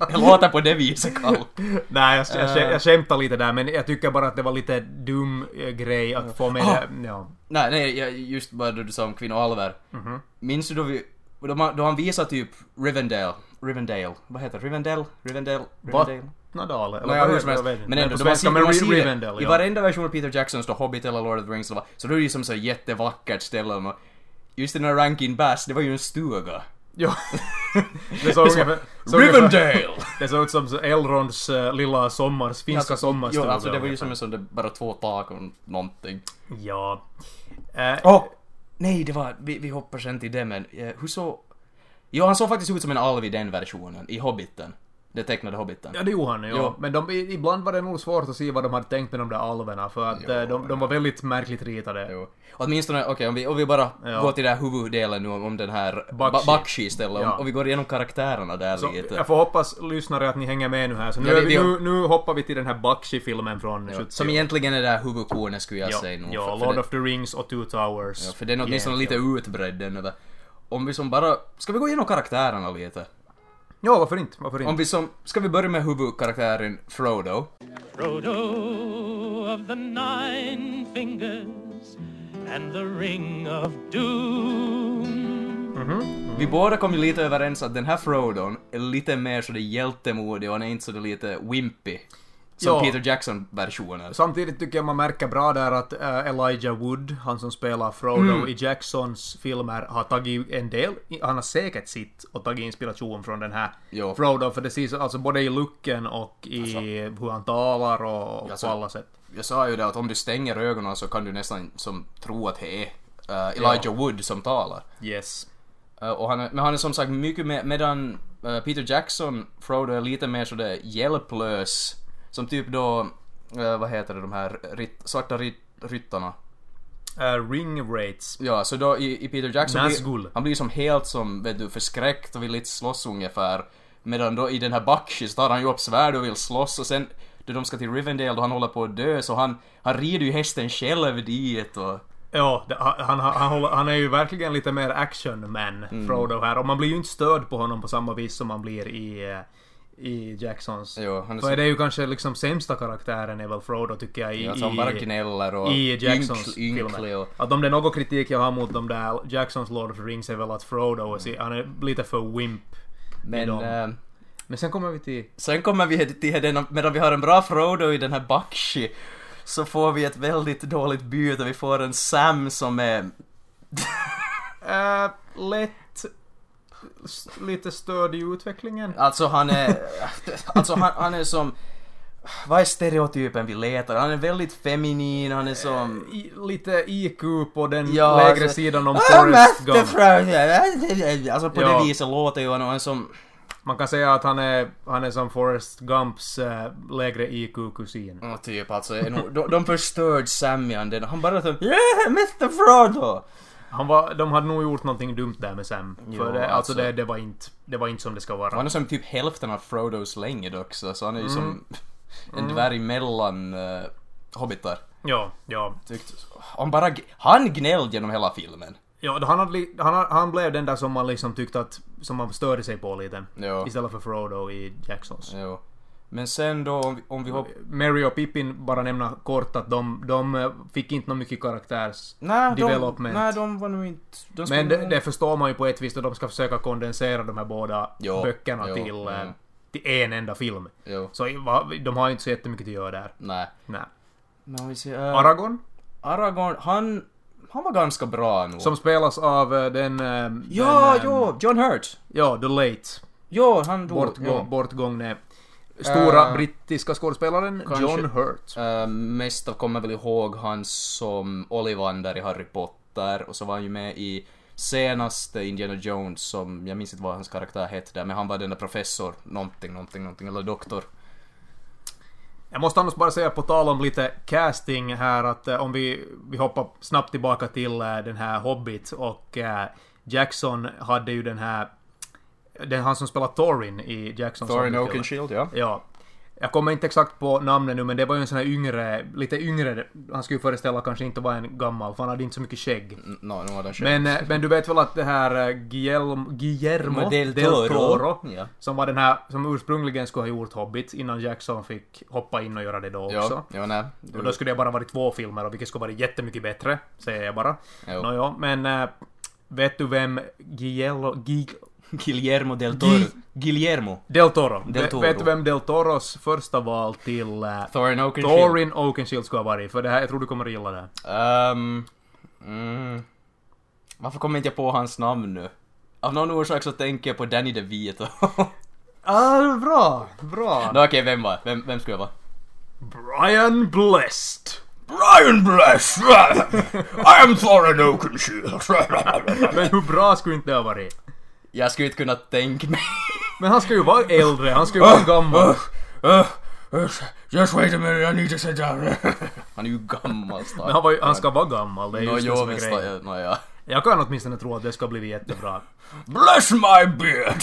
Speaker 3: Det låter på det viset, Kalle.
Speaker 2: Nej, jag, jag, jag, jag skämtar lite där, men jag tycker bara att det var lite dum eh, grej att få
Speaker 3: Ah.
Speaker 2: med det. Ja.
Speaker 3: Nej, nej, jag, just bara det du sa om kvinnoalver.
Speaker 2: Mhm.
Speaker 3: mm Minns du då vi... Då, man, då han visar typ Rivendell. Rivendell. Vad heter det? Rivendell? Rivendell? Rivendell?
Speaker 2: Vattnadal? eller
Speaker 3: Nej,
Speaker 2: vad
Speaker 3: jag
Speaker 2: heter
Speaker 3: hur som
Speaker 2: det?
Speaker 3: helst.
Speaker 2: Jag vet inte.
Speaker 3: Men ändå,
Speaker 2: på
Speaker 3: då man
Speaker 2: svenska,
Speaker 3: ser, man
Speaker 2: Re-
Speaker 3: ser det.
Speaker 2: Rivendell,
Speaker 3: I
Speaker 2: ja.
Speaker 3: varenda version av Peter Jackson står Hobbit eller Lord of the Rings. eller vad. Så då är det ju som så jättevackert ställen och... Just den här Rankin Bass, det var ju en stuga.
Speaker 2: Ja. Det såg ungefär... såg ungefär-
Speaker 3: Rivendell!
Speaker 2: Det såg ut som så Elronds eh, lilla sommars, finska
Speaker 3: Jo,
Speaker 2: sommarstuga.
Speaker 3: alltså det var ju
Speaker 2: ungefär.
Speaker 3: som en sån där bara två tak och någonting.
Speaker 2: Ja. Eh,
Speaker 3: Åh! Nej, det var... Vi, vi hoppar sen till det, men eh, hur så... Jo, han såg faktiskt ut som en alv i den versionen, i Hobbiten. Den tecknade Hobbiten.
Speaker 2: Ja, det gjorde han ju.
Speaker 3: Jo.
Speaker 2: Men de, i- ibland var det nog svårt att se vad de hade tänkt med de där alverna för att
Speaker 3: Jo,
Speaker 2: eh, de, de var väldigt märkligt ritade.
Speaker 3: Jo. Åtminstone, okej, om, vi, om vi bara
Speaker 2: Ja.
Speaker 3: går till den här huvuddelen nu om, om den här
Speaker 2: Bakshi.
Speaker 3: Ba- Bakshi istället,
Speaker 2: Ja.
Speaker 3: om, om vi går igenom karaktärerna där
Speaker 2: Så
Speaker 3: lite.
Speaker 2: jag får hoppas lyssnare att ni hänger med nu här. Så nu,
Speaker 3: Ja,
Speaker 2: är
Speaker 3: vi-
Speaker 2: vi,
Speaker 3: vi-
Speaker 2: nu, nu hoppar vi till den här Bakshi-filmen från 70.
Speaker 3: Som egentligen är det här huvudkornet skulle jag
Speaker 2: ja,
Speaker 3: säga nog.
Speaker 2: ja,
Speaker 3: för,
Speaker 2: Lord
Speaker 3: för,
Speaker 2: of the Rings och Two Towers.
Speaker 3: det, för den är åtminstone
Speaker 2: Ja,
Speaker 3: lite utbredd den över. Om vi som bara, ska vi gå igenom karaktärerna lite?
Speaker 2: Ja, varför inte? Varför
Speaker 3: Om
Speaker 2: inte?
Speaker 3: vi som, ska vi börja med huvudkaraktären Frodo?
Speaker 4: Frodo of the Nine Fingers and the Ring of Doom.
Speaker 3: Vi båda kom ju lite överens att den här Frodon är lite mer sådär hjältemodig och han är inte sådär lite wimpy. Som
Speaker 2: Ja.
Speaker 3: Peter Jackson-versionen.
Speaker 2: Samtidigt tycker jag man märker bra där att eh, Elijah Wood, han som spelar Frodo i Jacksons filmer, har tagit en del, han har säkert sitt och tagit inspiration från den här
Speaker 3: Jo.
Speaker 2: Frodo, för det syns alltså både i looken och i hur han talar och och
Speaker 3: Alltså,
Speaker 2: på alla sätt.
Speaker 3: Jag sa ju det att om du stänger ögonen så kan du nästan som tro att det är eh, Elijah Wood som talar.
Speaker 2: Yes.
Speaker 3: Eh, och han är, men han är som sagt mycket mer, medan eh, Peter Jackson, Frodo, är lite mer sådär hjälplös. Som typ då, eh, vad heter det, de här ritt, svarta ritt, ryttarna.
Speaker 2: Uh, ring rates.
Speaker 3: Ja, så då i, i Peter Jackson,
Speaker 2: Nazgul.
Speaker 3: blir, han blir som helt som, vet du, förskräckt och vill inte slåss ungefär. Medan då i den här Bakshi så tar han ju upp svärd och vill slåss och sen då de ska till Rivendell då han håller på att dö så han, han rider ju hästen själv dit och...
Speaker 2: Ja, det- han, han, han, håller, han är ju verkligen lite mer actionman,
Speaker 3: Mm.
Speaker 2: Frodo här. Och man blir ju inte störd på honom på samma vis som man blir i, eh, i Jacksons.
Speaker 3: Jo, han är
Speaker 2: För
Speaker 3: så-
Speaker 2: det är ju kanske liksom sämsta karaktären är väl Frodo tycker jag i...
Speaker 3: Ja, så Alltså, han bara
Speaker 2: i-
Speaker 3: gnäller och
Speaker 2: i Jacksons
Speaker 3: ynkl- ynklig
Speaker 2: filmer.
Speaker 3: och...
Speaker 2: Att om det är någon kritik jag har mot de där Jacksons Lord of the Rings är väl att Frodo, är, han är lite för wimp. med
Speaker 3: Men
Speaker 2: dem.
Speaker 3: eh,
Speaker 2: Men sen kommer vi till...
Speaker 3: sen kommer vi till den, medan vi har en bra Frodo i den här Bakshi så får vi ett väldigt dåligt byte, vi får en Sam som är...
Speaker 2: Äh, lätt... s- Lite stöd i utvecklingen.
Speaker 3: Alltså han är... Alltså han, han är som... Vad är stereotypen vi letar? Han är väldigt feminin, han är som...
Speaker 2: I, lite IQ på den
Speaker 3: Ja,
Speaker 2: lägre
Speaker 3: alltså-
Speaker 2: sidan om
Speaker 3: Ah,
Speaker 2: Forrest
Speaker 3: Master
Speaker 2: Gump.
Speaker 3: Frodo. Alltså på
Speaker 2: Ja.
Speaker 3: det viset låter ju han, han som...
Speaker 2: Man kan säga att han är, han är som Forrest Gumps äh, lägre IQ-kusin.
Speaker 3: Ja, typ alltså, är nog- de, de förstörde Samian den. Han bara som Yeah, Mr Frodo!
Speaker 2: Han var, de hade nog gjort någonting dumt där med Sam. För
Speaker 3: Jo,
Speaker 2: det, alltså,
Speaker 3: alltså.
Speaker 2: Det, det, var inte, det var inte som det ska vara.
Speaker 3: Han är som typ hälften av Frodos längd också, så han är ju
Speaker 2: Mm.
Speaker 3: som en dvärg mellan eh, hobbitar.
Speaker 2: Ja, ja.
Speaker 3: Tyckt, han bara... g- Han gnällde genom hela filmen.
Speaker 2: ja han, hade, li- han, hade- han blev den där som man liksom tyckte att... Som man störde sig på lite.
Speaker 3: Ja.
Speaker 2: Istället för Frodo i Jacksons.
Speaker 3: Jo. Men sen då om vi, om vi hoppar...
Speaker 2: Mary och Pippin, bara nämna kort att de, de eh, fick inte någon mycket karaktärs...
Speaker 3: Nej, de,
Speaker 2: Development.
Speaker 3: nej, de var nog inte... De
Speaker 2: Men
Speaker 3: skulle-
Speaker 2: det, det förstår man ju på ett vis då de ska försöka kondensera de här båda
Speaker 3: Jo,
Speaker 2: böckerna
Speaker 3: jo,
Speaker 2: till, eh,
Speaker 3: mm.
Speaker 2: till en enda film.
Speaker 3: Jo.
Speaker 2: Så i- va- de har ju inte så jättemycket att göra där.
Speaker 3: Nej.
Speaker 2: Nej.
Speaker 3: Men om vi ser... eh,
Speaker 2: Aragorn,
Speaker 3: Aragorn, han... Han var ganska bra nog.
Speaker 2: som spelas av eh, den... eh,
Speaker 3: Ja,
Speaker 2: den, eh,
Speaker 3: jo! John Hurt!
Speaker 2: Ja, The Late.
Speaker 3: Jo, han dog.
Speaker 2: Bortgå,
Speaker 3: jo.
Speaker 2: bortgångne. Stora
Speaker 3: Eh,
Speaker 2: brittiska skådespelaren
Speaker 3: kanske-
Speaker 2: John Hurt.
Speaker 3: Eh, mest av kommer väl ihåg han som Ollivander i Harry Potter och så var han ju med i senaste Indiana Jones som, jag minns inte vad hans karaktär hette där, men han var den där professor, någonting, någonting, någonting, eller doktor.
Speaker 2: Jag måste annars bara säga på tal om lite casting här att eh, om vi, vi hoppar snabbt tillbaka till eh, den här Hobbit och eh, Jackson hade ju den här... Den han som spelar Thorin i Jacksons
Speaker 3: Thorin
Speaker 2: Hobbit-film.
Speaker 3: Oakenshield, ja.
Speaker 2: Ja. Jag kommer inte exakt på namnet nu men det var ju en sån här yngre, lite yngre, han skulle ju föreställa kanske inte vara en gammal för han hade inte så mycket skägg.
Speaker 3: N- nå, nu var den själv.
Speaker 2: Men, eh, men du vet väl att det här eh, Guillermo, Guillermo
Speaker 3: Del
Speaker 2: del,
Speaker 3: Toro.
Speaker 2: Toro,
Speaker 3: Ja.
Speaker 2: som var den här som ursprungligen skulle ha gjort Hobbit innan Jackson fick hoppa in och göra det då också.
Speaker 3: Jo, jo, nej. Du,
Speaker 2: Och då skulle det bara varit två filmer och vilket skulle varit jättemycket bättre, säger jag bara.
Speaker 3: Jo.
Speaker 2: Nåja, men eh, vet du vem Guillermo... Gui-
Speaker 3: Guillermo del Toro.
Speaker 2: Gui-
Speaker 3: Guillermo.
Speaker 2: Del Toro.
Speaker 3: Del Toro.
Speaker 2: Ve- Vet du vem Del Toros första val till eh,
Speaker 3: Thorin Oakenshield.
Speaker 2: Thorin Oakenshield skulle ha varit? För det här, jag tror du kommer att gilla det.
Speaker 3: Ehm... mm, varför kommer inte jag på hans namn nu? Av någon orsak så tänker jag på Danny DeVito.
Speaker 2: Ah, bra! Bra!
Speaker 3: Nå okej, vem var? Vem, vem skulle jag vara?
Speaker 2: Brian Blessed!
Speaker 3: Brian Bless! I am Thorin Oakenshield!
Speaker 2: Men hur bra skulle inte det ha varit?
Speaker 3: jag skulle inte kunna tänka mig...
Speaker 2: Men han ska ju vara äldre, han ska ju vara gammal.
Speaker 3: Just wait a minute, I need to sit down. han är ju gammal
Speaker 2: Men han,
Speaker 3: stackarn.
Speaker 2: var ju, han ska vara gammal, det är just
Speaker 3: Nåjo,
Speaker 2: det som är
Speaker 3: visst,
Speaker 2: grejen.
Speaker 3: ja, nåja.
Speaker 2: Jag kan åtminstone tro att det ska bli jättebra.
Speaker 3: Bless my beard!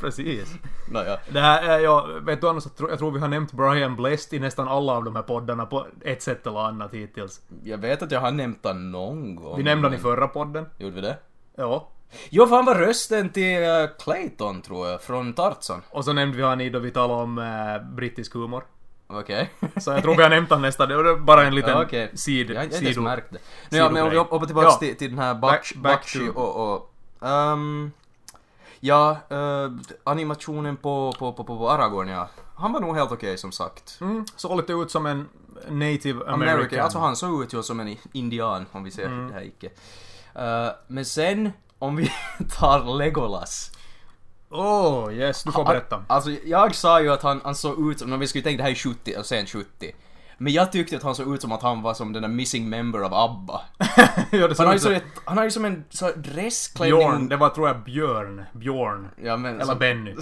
Speaker 2: Precis.
Speaker 3: Nåja.
Speaker 2: Det här, eh, ja, vet du annars, jag tror, jag tror vi har nämnt Brian Blessed i nästan alla av de här poddarna på ett sätt eller annat hittills.
Speaker 3: Jag vet att jag har nämnt han någon gång.
Speaker 2: Vi nämnde
Speaker 3: men-
Speaker 2: honom i förra podden.
Speaker 3: Gjorde vi det?
Speaker 2: Ja.
Speaker 3: Jo, för han var rösten till eh, Clayton, tror jag, från Tarzan.
Speaker 2: Och så nämnde vi honom i då vi talade om eh, brittisk humor.
Speaker 3: Okej.
Speaker 2: Så jag tror vi har nämnt honom nästan. Det var bara en liten
Speaker 3: Ja,
Speaker 2: okay.
Speaker 3: jag har
Speaker 2: sid,
Speaker 3: inte ens
Speaker 2: sido...
Speaker 3: märkt det. Nu, ja, men om vi
Speaker 2: sidogrej.
Speaker 3: hoppar tillbaka
Speaker 2: Ja.
Speaker 3: till, till den här
Speaker 2: Back-
Speaker 3: Bakshi
Speaker 2: back
Speaker 3: Bakshi
Speaker 2: to-
Speaker 3: och... och ehm, ja, eh, animationen på, på, på, på Aragorn, ja. Han var nog helt okej, som sagt.
Speaker 2: Mm, såg lite ut som en native
Speaker 3: American. Mm.
Speaker 2: american.
Speaker 3: Alltså han såg ut ju som en i- indian, om vi ser det här icke. Eh, men sen, om vi tar Legolas.
Speaker 2: Åh, oh, yes. Du får berätta.
Speaker 3: Alltså jag sa ju att han, han såg ut som, när vi skulle tänka det här är 70 och sen 70. Men jag tyckte att han såg ut som att han var som den där missing member av ABBA.
Speaker 2: ja, det
Speaker 3: Han
Speaker 2: såg
Speaker 3: har ju
Speaker 2: ut
Speaker 3: som,
Speaker 2: som...
Speaker 3: ett, han har ju som en så här dressklänning.
Speaker 2: Björn. Det var tror jag Björn. Björn.
Speaker 3: ja, men,
Speaker 2: Eller
Speaker 3: som-
Speaker 2: Benny.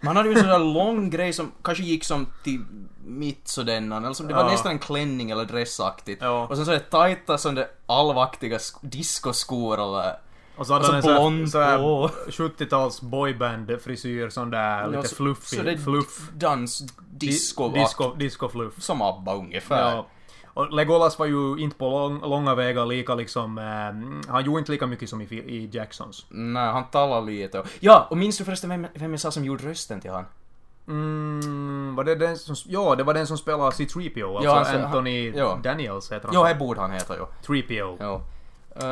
Speaker 3: Men han hade ju en sån där lång grej som kanske gick som till mitt sådennan, eller som, det var
Speaker 2: Ja.
Speaker 3: nästan en klänning eller dressaktigt.
Speaker 2: Ja.
Speaker 3: Och sen så där tajta sån där allvaktiga sk- discoskor eller...
Speaker 2: Och så hade
Speaker 3: Och så
Speaker 2: han en sån här-
Speaker 3: blond
Speaker 2: sån här
Speaker 3: hår.
Speaker 2: 70-tals boyband-frisyr, sån där
Speaker 3: Ja,
Speaker 2: lite
Speaker 3: så-
Speaker 2: fluffig.
Speaker 3: så det-
Speaker 2: fluff.
Speaker 3: Dans,
Speaker 2: Di-
Speaker 3: disco,
Speaker 2: disco, disco-fluff.
Speaker 3: Som ABBA ungefär.
Speaker 2: Ja. Och Legolas var ju inte på lång, långa vägar lika liksom... Eh, han gjorde inte lika mycket som i, fi- i Jacksons.
Speaker 3: Nej, han talar lite och... Ja, och minns du förresten vem, vem jag sa som gjorde rösten till han?
Speaker 2: Mm, var det den som... Ja, det var den som spelade C-3PO. Alltså
Speaker 3: Ja, alltså,
Speaker 2: Anthony
Speaker 3: han- ja.
Speaker 2: Daniels heter han.
Speaker 3: Ja, det borde han heta ju.
Speaker 2: 3PO.
Speaker 3: Ja.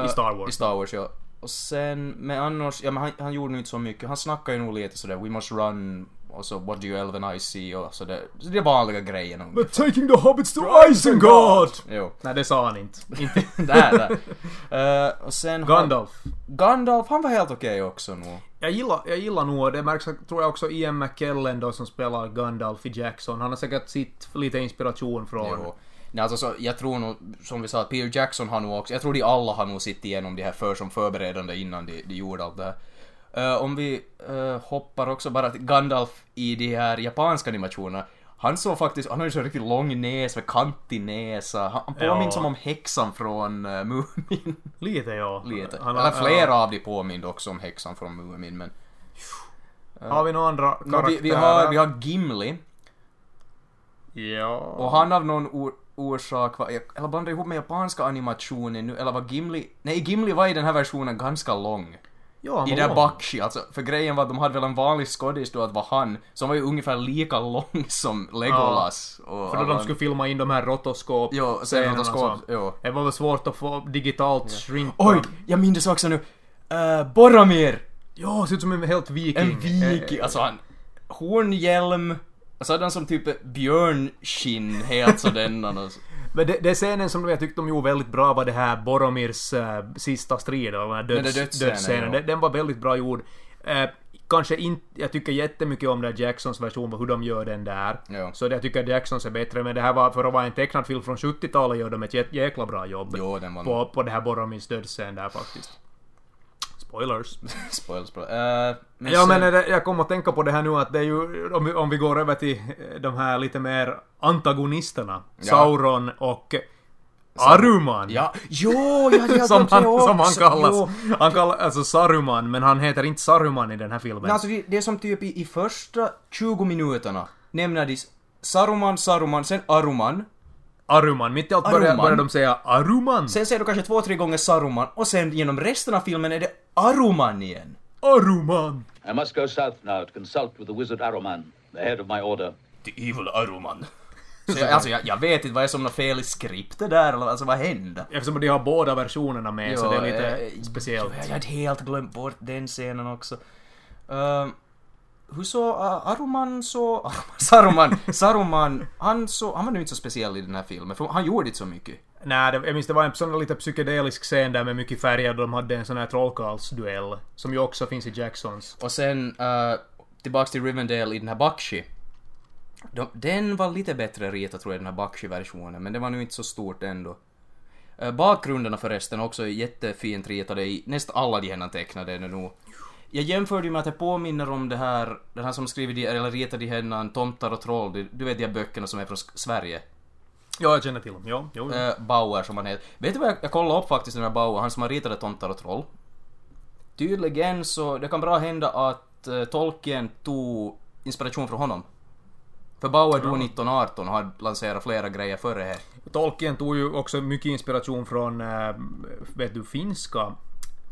Speaker 2: I Star
Speaker 3: I
Speaker 2: Wars.
Speaker 3: Star Wars, ja. Och sen, men annars, ja men han, han gjorde nog inte så mycket. Han snackade ju nog lite sådär We must run och så What do you elven I see och sådär. Så det är vanliga grejerna. ungefär.
Speaker 2: taking the hobbits to Isengard!
Speaker 3: Jo.
Speaker 2: Nej, det sa han inte. inte.
Speaker 3: där, där. Eh, och sen... har-
Speaker 2: Gandalf.
Speaker 3: Gandalf, han var helt okej också nog.
Speaker 2: Jag gillar, jag gillar nog, det märks tror jag också Ian McKellen då som spelar Gandalf i Jackson. Han har säkert sitt lite inspiration från...
Speaker 3: Jo. Nej, alltså, så, jag tror nog, som vi sa, att Peter Jackson har nog också, jag tror de alla har nog sett igenom det här för som förberedande innan de, de gjorde allt det här. Eh, om vi eh, hoppar också bara till Gandalf i de här japanska animationerna. Han såg faktiskt, han har ju så riktigt lång näs med kantig näsa. Han, han påminner
Speaker 2: Ja.
Speaker 3: som om häxan från uh, Mumin.
Speaker 2: Lite ja.
Speaker 3: Lite.
Speaker 2: Han-
Speaker 3: Eller
Speaker 2: ja.
Speaker 3: flera av de påminner också om häxan från Mumin men...
Speaker 2: Har vi några andra
Speaker 3: Nå,
Speaker 2: karaktärer?
Speaker 3: vi, vi, har, vi har Gimli.
Speaker 2: Ja.
Speaker 3: Och han av någon or- orsak var, jag- eller blandade ihop med japanska animationen nu, eller var Gimli, nej Gimli var i den här versionen ganska lång.
Speaker 2: ja, han
Speaker 3: I
Speaker 2: var
Speaker 3: den
Speaker 2: lång.
Speaker 3: Bakshi, alltså, för grejen var att de hade väl en vanlig skådis då att var han, som var ju ungefär lika lång som Legolas. Och
Speaker 2: För då
Speaker 3: alla-
Speaker 2: de skulle filma in de här rotoskop
Speaker 3: Jo,
Speaker 2: scenerna och så.
Speaker 3: scenotoskop, jo.
Speaker 2: Det var väl svårt att få digitalt shrink
Speaker 3: Oj,
Speaker 2: dem.
Speaker 3: jag minns också nu! Uh, Boromir!
Speaker 2: Ja, ser ut som en helt viking.
Speaker 3: En viking,
Speaker 2: Eh,
Speaker 3: alltså han, hornhjälm, och så hade han som typ alltså björnskinn helt sådär. och så-
Speaker 2: Men det, det är scenen som jag tyckte de gjorde väldigt bra var det här Boromirs eh, sista strid, eller den här
Speaker 3: det
Speaker 2: döds,
Speaker 3: är dödsscenen,
Speaker 2: dödsscenen.
Speaker 3: ja.
Speaker 2: Den, den var väldigt bra gjord. Eh, kanske inte, jag tycker jättemycket om den Jacksons version, och hur de gör den där.
Speaker 3: Ja.
Speaker 2: Så jag tycker Jacksons är bättre, men det här var, för att vara en tecknad film från 70-talet gör de ett jä- jäkla bra jobb.
Speaker 3: Jo, den var
Speaker 2: på, på det här Boromirs dödsscen där faktiskt. Spoilers.
Speaker 3: Spoil, spoil. Eh, men
Speaker 2: Ja
Speaker 3: sen-
Speaker 2: men är det, jag kommer att tänka på det här nu att det är ju, om vi, om vi går över till eh, de här lite mer antagonisterna. Sauron och Aruman.
Speaker 3: Ja, jo, jag hade
Speaker 2: Som
Speaker 3: glömt
Speaker 2: han,
Speaker 3: det också.
Speaker 2: som han kallas.
Speaker 3: Jo.
Speaker 2: Han kallas alltså Saruman, men han heter inte Saruman i den här filmen.
Speaker 3: Men alltså det, det är som typ i, i första 20 minuterna nämner de Saruman, Saruman, sen Aruman.
Speaker 2: Aruman. Mitt i allt börjar,
Speaker 3: Aruman.
Speaker 2: börjar de säga Aruman.
Speaker 3: Sen säger du kanske två, tre gånger Saruman och sen genom resten av filmen är det Aruman igen.
Speaker 2: Aruman.
Speaker 5: I must go south now to consult with the wizard Aruman, the head of my order.
Speaker 3: The evil Aruman. Så jag, alltså jag, jag vet inte vad det är som är fel i skriptet där eller alltså vad hände?
Speaker 2: Eftersom de har båda versionerna med så det är lite
Speaker 3: eh,
Speaker 2: speciellt.
Speaker 3: Jag hade helt glömt bort den scenen också. Ehm, hur så eh, Aruman så... Aruman, Saruman, Saruman, han, så, han var nu inte så speciell i den här filmen, för han gjorde inte så mycket.
Speaker 2: Nej, det, jag minns det var en sån där lite psykedelisk scen där med mycket färger. De hade en sån här trollkarlsduell. Som ju också finns i Jacksons.
Speaker 3: Och sen eh, tillbaks till Rivendell i den här Bakshi. De, den var lite bättre ritad tror jag, den här Bakshi-versionen, men det var nu inte så stort ändå. Eh, bakgrunderna förresten också är jättefint ritade i nästan alla de här tecknade är det nog. Jag jämförde ju med att det påminner om det här, den här som skriver de, eller ritar de här Tomtar och troll, du, du vet de här böckerna som är från Sk- Sverige.
Speaker 2: Ja, jag känner till dem. Ja, jo, jo.
Speaker 3: Eh, Bauer som han heter. Vet du vad jag, jag kollade upp faktiskt den här Bauer, han som har ritat Tomtar och troll? Tydligen så, det kan bra hända att eh, Tolkien tog inspiration från honom. För Bauer dog 1918 och hade lanserat flera grejer före här.
Speaker 2: Tolkien tog ju också mycket inspiration från, eh, vet du, finska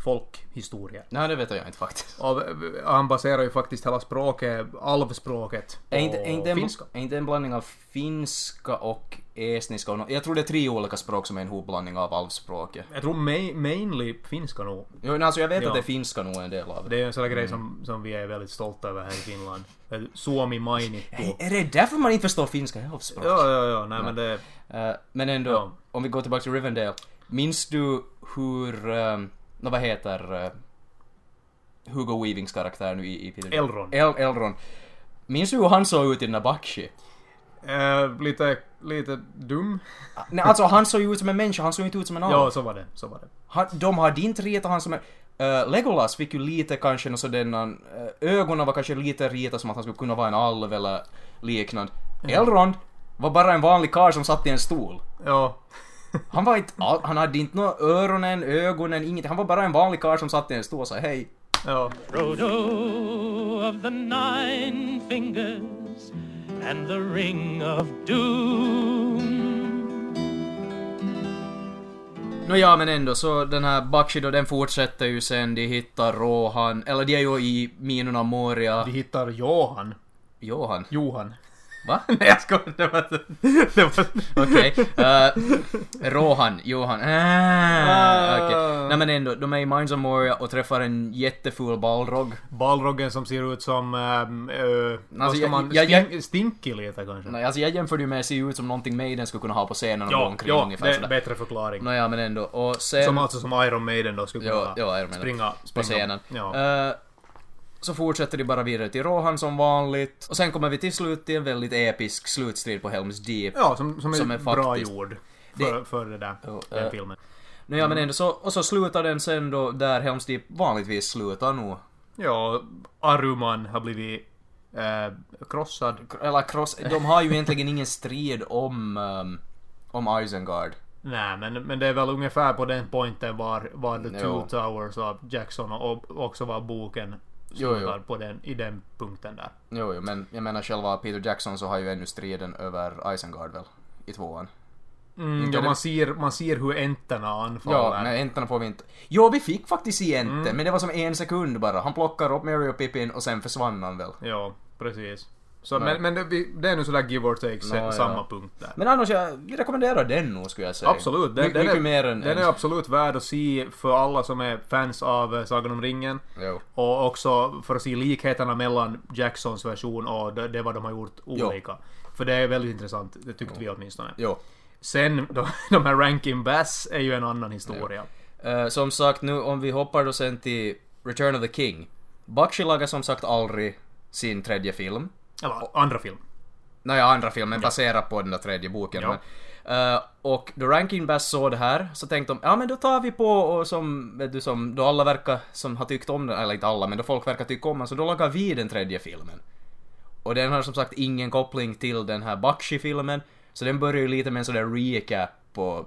Speaker 2: folkhistorier.
Speaker 3: Nej, det vet jag inte faktiskt.
Speaker 2: Av, eh, han baserar ju faktiskt hela språket, alvspråket, på
Speaker 3: Är inte, är, inte en,
Speaker 2: finska.
Speaker 3: är inte en blandning av finska och estniska och nå- Jag tror det är tre olika språk som är en hopblandning av alvspråket.
Speaker 2: Jag tror ma- mainly finska nog.
Speaker 3: Jo, men alltså jag vet
Speaker 2: Ja.
Speaker 3: att det är finska nog en del av det.
Speaker 2: Det är en sån där grej som, som vi är väldigt stolta över här i Finland. Vet du, Suomi mainittu.
Speaker 3: Är det därför man inte förstår finska alvspråk?
Speaker 2: Ja, ja, ja, nej men det...
Speaker 3: Eh, men ändå,
Speaker 2: Ja.
Speaker 3: om vi går tillbaka till Rivendell. Minns du hur, um, vad heter eh, Hugo Weavings karaktär nu i, i Peter
Speaker 2: Elrond.
Speaker 3: El, Elrond. Minns du hur han såg ut i den där Bakshi?
Speaker 2: Eh, lite, lite dum.
Speaker 3: Nej, alltså han såg ju ut som en människa, han såg inte ut som en alv.
Speaker 2: Ja, så var det. Så var det.
Speaker 3: Han, de hade inte ritat han som en... eh, Legolas fick ju lite kanske något sådant, eh, ögonen var kanske lite ritat som att han skulle kunna vara en alv eller liknande. Elrond var bara en vanlig karl som satt i en stol.
Speaker 2: Ja.
Speaker 3: Han var inte all, han hade inte några öronen, ögonen, inget. Han var bara en vanlig karl som satt i en stol och sa hej.
Speaker 2: Ja.
Speaker 4: Frodo of the Nine Fingers and the Ring of Doom.
Speaker 3: Nåja men ändå så den här Bakshi då den fortsätter ju sen, de hittar Rohan, eller de är ju i minorna Moria.
Speaker 2: Vi hittar Johan.
Speaker 3: Johan?
Speaker 2: Johan.
Speaker 3: Va?
Speaker 2: Nej, jag skojar. Det var... Det var...
Speaker 3: Okej. eh, Rohan, Johan. Äh,
Speaker 2: Ah.
Speaker 3: Okej. Nej men ändå, de är i Mines of Moria och träffar en jätteful Balrog.
Speaker 2: Balroggen som ser ut som... ehm, eh, vad ska
Speaker 3: Alltså, jag-
Speaker 2: man...
Speaker 3: jag- jag-
Speaker 2: stink- stinkig lite kanske.
Speaker 3: Nej, Alltså jag jämförde ju med att se ut som någonting Maiden skulle kunna ha på scenen och gå
Speaker 2: ja,
Speaker 3: omkring
Speaker 2: ja det
Speaker 3: ungefär
Speaker 2: är en
Speaker 3: sådär.
Speaker 2: bättre förklaring.
Speaker 3: Nåja men ändå. Och sen...
Speaker 2: Som alltså som Iron Maiden då skulle
Speaker 3: Ja,
Speaker 2: kunna
Speaker 3: ja, Iron Maiden.
Speaker 2: springa, springa
Speaker 3: på scenen.
Speaker 2: Ja.
Speaker 3: Eh, så fortsätter de bara vidare till Rohan som vanligt. Och sen kommer vi till slut till en väldigt episk slutstrid på Helms Deep.
Speaker 2: ja, som, som är,
Speaker 3: som är
Speaker 2: bra
Speaker 3: faktiskt-
Speaker 2: gjord. För det,
Speaker 3: Det-
Speaker 2: för det där,
Speaker 3: Jo,
Speaker 2: den
Speaker 3: eh,
Speaker 2: filmen.
Speaker 3: Nå, ja, men
Speaker 2: Mm.
Speaker 3: ändå så, och så slutar den sen då där Helms Deep vanligtvis slutar nog.
Speaker 2: Ja, Aruman har blivit eh, krossad.
Speaker 3: Eller cross, de har ju egentligen ingen strid om, ehm, om Isengard.
Speaker 2: Nej, men, men det är väl ungefär på den pointen var, var The Two
Speaker 3: Jo.
Speaker 2: Towers av Jackson och och också var boken
Speaker 3: Jo,
Speaker 2: slutar
Speaker 3: jo.
Speaker 2: på den, i den punkten där.
Speaker 3: Jo, jo, men jag menar själva Peter Jackson så har ju ännu striden över Isengard väl, i tvåan.
Speaker 2: Mm,
Speaker 3: Inte
Speaker 2: ja,
Speaker 3: det-
Speaker 2: man, ser, man ser hur enterna
Speaker 3: Ja,
Speaker 2: anfaller.
Speaker 3: men änterna får vi inte. Jo, vi fick faktiskt i enter,
Speaker 2: Mm.
Speaker 3: men det var som en sekund bara. Han plockar upp Mary och Pippin och sen försvann han väl.
Speaker 2: Ja, precis. Så,
Speaker 3: Nej.
Speaker 2: men men det, vi- det är nu sådär give or take se-
Speaker 3: Nå, ja.
Speaker 2: samma punkt där.
Speaker 3: Men annars, jag vi rekommenderar den nog skulle jag säga.
Speaker 2: Absolut, den,
Speaker 3: My-
Speaker 2: den,
Speaker 3: mycket
Speaker 2: är,
Speaker 3: mer än...
Speaker 2: den
Speaker 3: än-
Speaker 2: är absolut värd att se för alla som är fans av eh, Sagan om ringen.
Speaker 3: Jo.
Speaker 2: Och också för att se likheterna mellan Jacksons version och det, det vad de har gjort olika. För det är väldigt intressant, det tyckte vi åtminstone.
Speaker 3: jo.
Speaker 2: Sen, de, de här Rankin Bass är ju en annan historia.
Speaker 3: Eh, som sagt, nu om vi hoppar då sen till Return of the King. Bakshi lagar som sagt aldrig sin tredje film.
Speaker 2: Eller andra film.
Speaker 3: Nåja, andra filmen baserad på den där tredje boken.
Speaker 2: Ja.
Speaker 3: Men, eh, och då Rankin Bass såg det här så tänkte de ja men då tar vi på och som, vet du, som då alla verkar som har tyckt om den, eller inte alla men då folk verkar tycka om den så då lagar vi den tredje filmen. Och den har som sagt ingen koppling till den här Bakshi-filmen så den börjar ju lite med en sån där recap på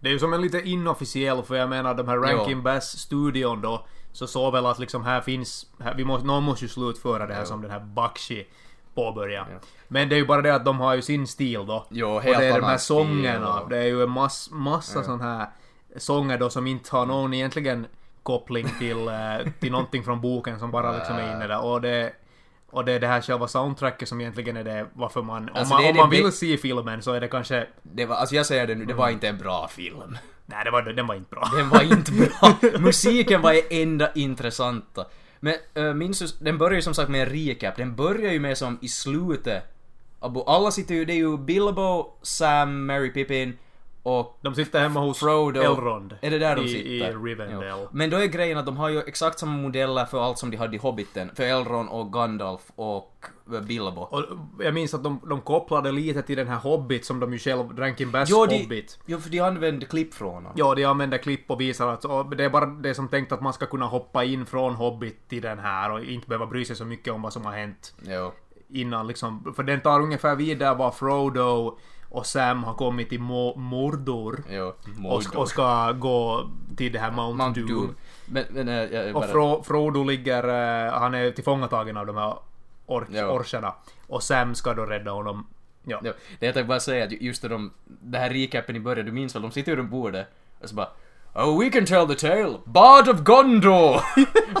Speaker 2: Det är ju som en lite inofficiell, för jag menar de här Rankin
Speaker 3: Ja.
Speaker 2: Bass-studion då, så såg väl att liksom här finns, här, vi måste, någon måste ju slutföra det här som den här Bakshi påbörjar. Men det är ju bara det att de har ju sin stil då.
Speaker 3: Jo,
Speaker 2: och det
Speaker 3: helt
Speaker 2: är de här
Speaker 3: annan stil
Speaker 2: sångerna.
Speaker 3: och-
Speaker 2: Det är ju en mass, massa sån här sånger då som inte har någon egentligen koppling till, eh, till någonting från boken som bara liksom är inne där. Och det, och det är det här själva soundtracket som egentligen är det varför man... Om
Speaker 3: Alltså,
Speaker 2: man,
Speaker 3: det är
Speaker 2: om
Speaker 3: det
Speaker 2: man vill
Speaker 3: bä-
Speaker 2: se filmen så är det kanske...
Speaker 3: det var, alltså jag säger det nu, det var inte en bra film.
Speaker 2: Nej, det var, den var inte bra.
Speaker 3: Den var inte bra. Musiken var det enda intressanta. Men äh, minns du, den börjar ju som sagt med en recap. Den börjar ju med som i slutet. Abo- Alla sitter ju, det är ju Bilbo, Sam, Mary Pippin och
Speaker 2: De sitter hemma hos
Speaker 3: Frodo.
Speaker 2: Elrond.
Speaker 3: Är det där de
Speaker 2: i,
Speaker 3: sitter?
Speaker 2: I Rivendell.
Speaker 3: Ja. Men då är grejen att de har ju exakt samma modeller för allt som de hade i Hobbiten. För Elrond och Gandalf och eh, Bilbo.
Speaker 2: Och jag minns att de, de kopplade lite till den här Hobbit som de ju själv, Rankin Bass
Speaker 3: jo, de,
Speaker 2: Hobbit.
Speaker 3: jo, för de använde klipp från honom.
Speaker 2: Ja, de använder klipp och visar att och det är bara det som tänkt att man ska kunna hoppa in från Hobbit till den här och inte behöva bry sig så mycket om vad som har hänt
Speaker 3: Jo.
Speaker 2: innan liksom. För den tar ungefär vid där var Frodo och Sam har kommit till Mo- Mordor.
Speaker 3: Jo.
Speaker 2: Och, sk- och ska gå till det här Mount,
Speaker 3: Mount
Speaker 2: Doom.
Speaker 3: Doom. Men, men, eh, jag, jag
Speaker 2: Och
Speaker 3: bara-
Speaker 2: Fro, Frodo ligger... eh, han är tillfångatagen av de här ork,
Speaker 3: Ja.
Speaker 2: orcherna. Och Sam ska då rädda honom. Ja.
Speaker 3: Ja, det jag tänkte bara säga att ju- just det de, det här recapen i början, du minns väl, de sitter ju runt bordet och så bara Oh, we can tell the tale! Bard of Gondor!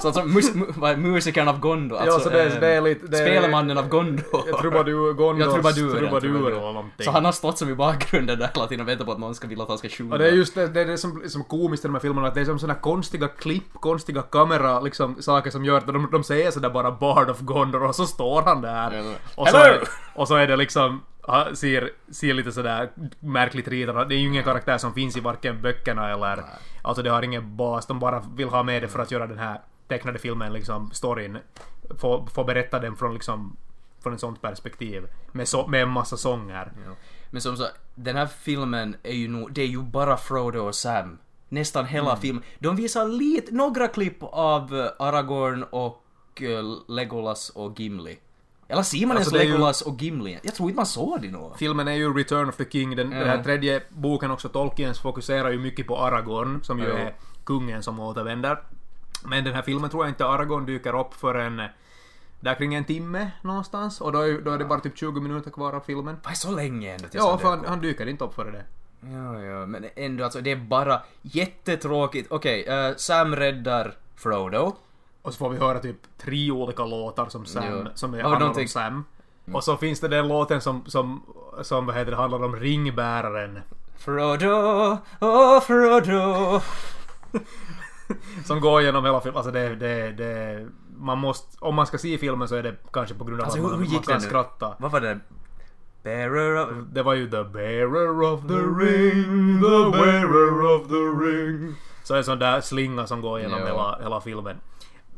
Speaker 3: så alltså, mus, mu, vad är musikern av Gondor. Alltså,
Speaker 2: så det är-
Speaker 3: ehm,
Speaker 2: det är lite- det är-
Speaker 3: spelmannen av Gondor.
Speaker 2: Jag trubadur, Gondors
Speaker 3: Jag trubaduren,
Speaker 2: trubadur
Speaker 3: trubaduren.
Speaker 2: eller någonting.
Speaker 3: Så han har stått som i bakgrunden där hela tiden och väntat på att någon ska vilja att han ska sjunga.
Speaker 2: Och det är just det, det, är det som, som komiskt i de här filmerna, att det är som sådana konstiga klipp, konstiga kamera, liksom saker som gör att de, de säger sådär bara Bard of Gondor och så står han
Speaker 3: Ja,
Speaker 2: där.
Speaker 3: det-
Speaker 2: Och så,
Speaker 3: Hello!
Speaker 2: är, och så är det liksom, ha- ser, ser lite sådär märkligt ritat Det är ju ingen karaktär som finns i varken böckerna eller, alltså det har ingen bas, de bara vill ha med det för att göra den här tecknade filmen, liksom storyn, få, få berätta den från liksom från ett sånt perspektiv. Med, så, med en massa sånger.
Speaker 3: Men som sagt, den här filmen är ju nog, det är ju bara Frodo och Sam. Nästan hela
Speaker 2: Mm.
Speaker 3: filmen. De visar lite, några klipp av eh, Aragorn och eh, Legolas och Gimli. Eller ser man
Speaker 2: Alltså,
Speaker 3: ens
Speaker 2: det är ju-
Speaker 3: Legolas och Gimli? Jag tror inte man såg det nog.
Speaker 2: Filmen är ju Return of the King, den, den här
Speaker 3: Mm.
Speaker 2: tredje boken också. Tolkiens fokuserar ju mycket på Aragorn, som ju
Speaker 3: Jo.
Speaker 2: är kungen som återvänder. Men den här filmen tror jag inte Aragorn dyker upp förrän eh, där kring en timme någonstans. Och då är, då är det bara typ 20 minuter kvar av filmen.
Speaker 3: Vad är så länge ändå tills
Speaker 2: Ja,
Speaker 3: han
Speaker 2: för
Speaker 3: dök
Speaker 2: han,
Speaker 3: upp?
Speaker 2: han dyker inte upp före det.
Speaker 3: Ja, ja, men ändå alltså, det är bara jättetråkigt. Okej, eh, Sam räddar Frodo.
Speaker 2: Och så får vi höra typ tre olika låtar som Sam,
Speaker 3: Jo.
Speaker 2: som är,
Speaker 3: Ja, Mm.
Speaker 2: handlar om
Speaker 3: någonting.
Speaker 2: Sam. Och så finns det den låten som, som, som vad heter det, handlar om ringbäraren.
Speaker 3: Frodo, oh Frodo.
Speaker 2: Som går igenom hela filmen. Alltså det, det, det, man måste, om man ska se filmen så är det kanske på grund av
Speaker 3: Alltså
Speaker 2: att
Speaker 3: hur,
Speaker 2: man,
Speaker 3: hur
Speaker 2: man
Speaker 3: gick
Speaker 2: kan
Speaker 3: det nu?
Speaker 2: skratta.
Speaker 3: Vad var det? Bearer of...
Speaker 2: Det var ju the bearer of the ring, the bearer of the ring. Så en sån där slinga som går igenom
Speaker 3: Ja.
Speaker 2: hela, hela filmen.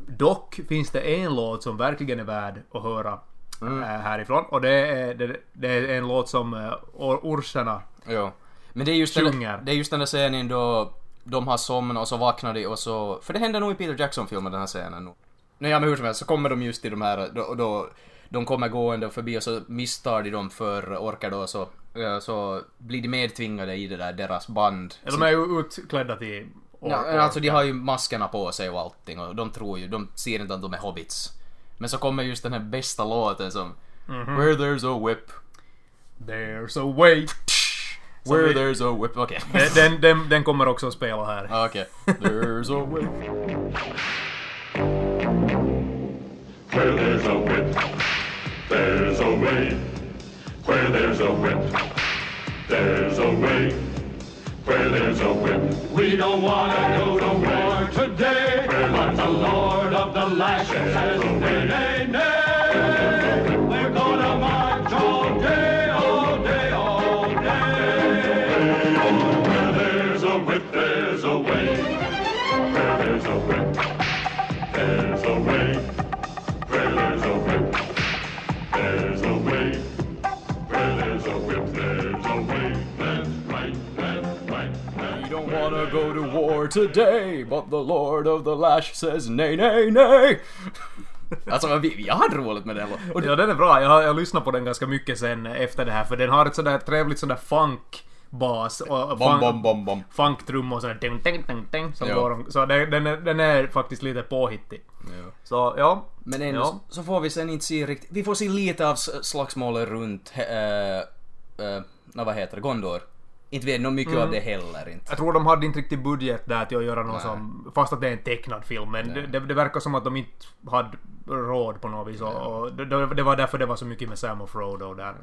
Speaker 2: Dock finns det en låt som verkligen är värd att höra
Speaker 3: Mm.
Speaker 2: eh, härifrån. Och det är, det, det är en låt som eh, or- orcherna
Speaker 3: Ja. Men det är just, den,
Speaker 2: Sjunger.
Speaker 3: det är just den där scenen då de har somnat och så vaknar de och så... För det händer nog i Peter Jackson-filmen den här scenen. Nej, ja, men hur som helst så kommer de just till de här... Då, då, de kommer gående förbi och så misstar de dem för orkar då så, eh, så blir de medtvingade i det där deras band.
Speaker 2: Eller de är ju utklädda till ork.
Speaker 3: Ja, alltså de har ju maskerna på sig och allting och de tror ju, de ser inte att de är hobbits. Men så kommer just den här bästa låten som
Speaker 2: Mhm.
Speaker 3: Where there's a whip,
Speaker 2: There's a way.
Speaker 3: where
Speaker 2: vi-
Speaker 3: there's a whip, okej.
Speaker 2: Den, den, den kommer också att spela här.
Speaker 3: Ah, Okej. There's a whip.
Speaker 6: Where there's a whip, there's a way. Where there's a whip, there's a way. Where there's a whip, we don't wanna go to war today. But the Lord of the Lashes says, nay, nay, nay. We're gonna march all day, all day, all day. Where there's a whip, there's a way. Where there's a whip, there's a way. Where there's a whip, there's a way. Where there's a whip, there's a way. That's right, that's right, that's
Speaker 3: We don't wanna go to war today, but the Lord of the Lash says nej, nej, nej! alltså men vi, jag hade roligt med den låten. Och det-
Speaker 2: Ja, den är bra. Jag, har- jag lyssnar på den ganska mycket sen efter det här, för den har ett sådär trevligt sådär funk-bas. och- och
Speaker 3: Bom,
Speaker 2: funk-
Speaker 3: bom, bom, bom.
Speaker 2: Funktrummor och sådär ding, ding, ding, ding, som
Speaker 3: Ja.
Speaker 2: går om. Så den, den, är, den är faktiskt lite påhittig. Så ja.
Speaker 3: Men ändå
Speaker 2: Ja.
Speaker 3: så får vi sen inte se riktigt, vi får se lite av s- slagsmålen runt, eh, eh, nå, vad heter det, Gondor. Inte vet nog mycket av det heller inte.
Speaker 2: Jag tror de hade inte riktigt budget där till att göra något som... Fast att det är en tecknad film, men det, det verkar som att de inte hade råd på något vis. Och, och det, det det var därför det var så mycket med Sam och Frodo där.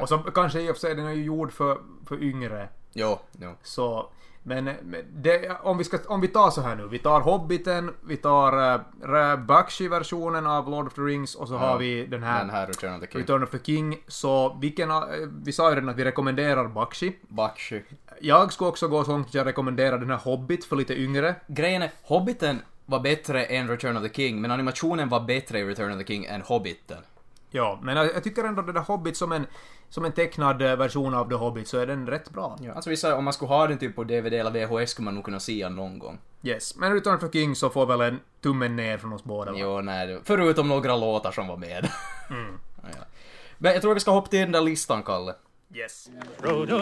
Speaker 2: Och så kanske i och för sig, den är ju gjord för, för yngre.
Speaker 3: Jo, jo.
Speaker 2: Så, men men det, om, vi ska, om vi tar så här nu. Vi tar Hobbiten, vi tar uh, Bakshi-versionen av Lord of the Rings och så har vi den här,
Speaker 3: Den här Return of the King.
Speaker 2: Return of the King. Så vilken, av- eh, vi sa ju redan att vi rekommenderar Bakshi.
Speaker 3: Bakshi.
Speaker 2: Jag skulle också gå så långt att jag rekommenderar den här Hobbit för lite yngre.
Speaker 3: Grejen är, Hobbiten var bättre än Return of the King, men animationen var bättre i Return of the King än Hobbiten.
Speaker 2: Ja, men jag, jag tycker ändå den där Hobbit som en, som en tecknad eh, version av The Hobbit så är den rätt bra.
Speaker 3: Alltså vi säger, om man skulle ha den typ på DVD eller VHS skulle man nog kunna se den någon gång.
Speaker 2: Yes, men Return of the King så får väl en tummen ner från oss båda. va?
Speaker 3: Jo, nej, det- förutom några låtar som var med.
Speaker 2: Mm.
Speaker 3: Ja. Men jag tror vi ska hoppa till den där listan, Kalle.
Speaker 2: Yes.
Speaker 4: Frodo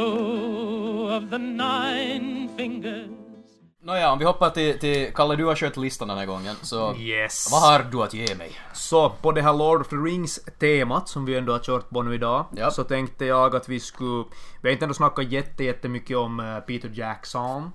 Speaker 4: of the Nine Fingers.
Speaker 3: Nåja, om vi hoppar till, till Kalle, du har kört listan den här gången, så
Speaker 2: Yes.
Speaker 3: vad har du att ge mig?
Speaker 2: Så på det här Lord of the Rings-temat som vi ändå har kört på nu idag
Speaker 3: Ja.
Speaker 2: så tänkte jag att vi skulle... Vi har inte ändå snackat jätte, jättemycket om eh, Peter Jackson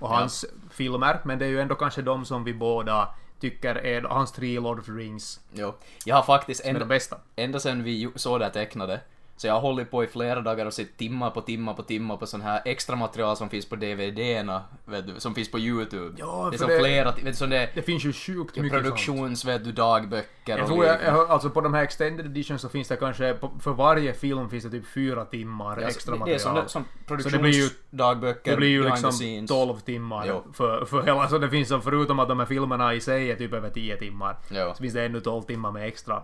Speaker 2: och hans filmer men det är ju ändå kanske de som vi båda tycker är hans tre Lord of the Rings
Speaker 3: Jo, jag har faktiskt
Speaker 2: är de
Speaker 3: ända,
Speaker 2: bästa.
Speaker 3: ända sen vi ju- såg det här tecknade, så jag har hållit på i flera dagar och sett timmar på timmar på timmar på sån här extra material som finns på DVDerna, vet du, som finns på YouTube.
Speaker 2: Ja,
Speaker 3: det
Speaker 2: för
Speaker 3: är som
Speaker 2: det-
Speaker 3: flera, vet du, som det
Speaker 2: Det finns ju sjukt
Speaker 3: är
Speaker 2: mycket sånt.
Speaker 3: produktions, vet du, dagböcker
Speaker 2: Jag
Speaker 3: och
Speaker 2: tror jag,
Speaker 3: liknande.
Speaker 2: jag, hör- alltså på de här extended editions så finns det kanske, på, för varje film finns det typ fyra timmar
Speaker 3: Alltså,
Speaker 2: extra
Speaker 3: det- Det är
Speaker 2: material.
Speaker 3: som, det- som
Speaker 2: så det blir ju
Speaker 3: produktionsdagböcker,
Speaker 2: Det blir ju
Speaker 3: behind the
Speaker 2: liksom
Speaker 3: scenes.
Speaker 2: 12 timmar
Speaker 3: Jo.
Speaker 2: för, för hela, så det finns som förutom att de här filmerna i sig är typ över 10 timmar.
Speaker 3: Jo.
Speaker 2: Så finns det ännu 12 timmar med extra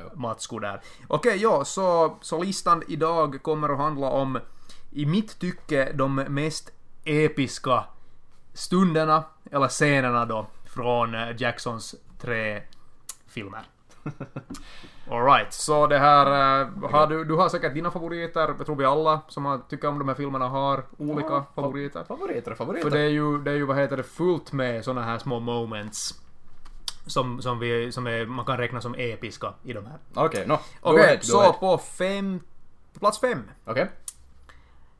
Speaker 3: Jo.
Speaker 2: matskor där. Okej, ja, så, så listan idag kommer att handla om, i mitt tycke, de mest episka stunderna, eller scenerna då, från eh, Jacksons tre filmer. Alright, så det här... eh, Har du, du har säkert dina favoriter, jag tror vi alla som har, tycker om de här filmerna har olika favoriter.
Speaker 3: Favoriter,
Speaker 2: För
Speaker 3: favoriter.
Speaker 2: det är ju, det är ju vad heter det, fullt med såna här små moments. Som, som, vi, som är, man kan räkna som episka i de här.
Speaker 3: Okej, nå. Go
Speaker 2: Okej,
Speaker 3: ahead, go
Speaker 2: så
Speaker 3: ahead.
Speaker 2: på fem... På plats fem.
Speaker 3: Okej.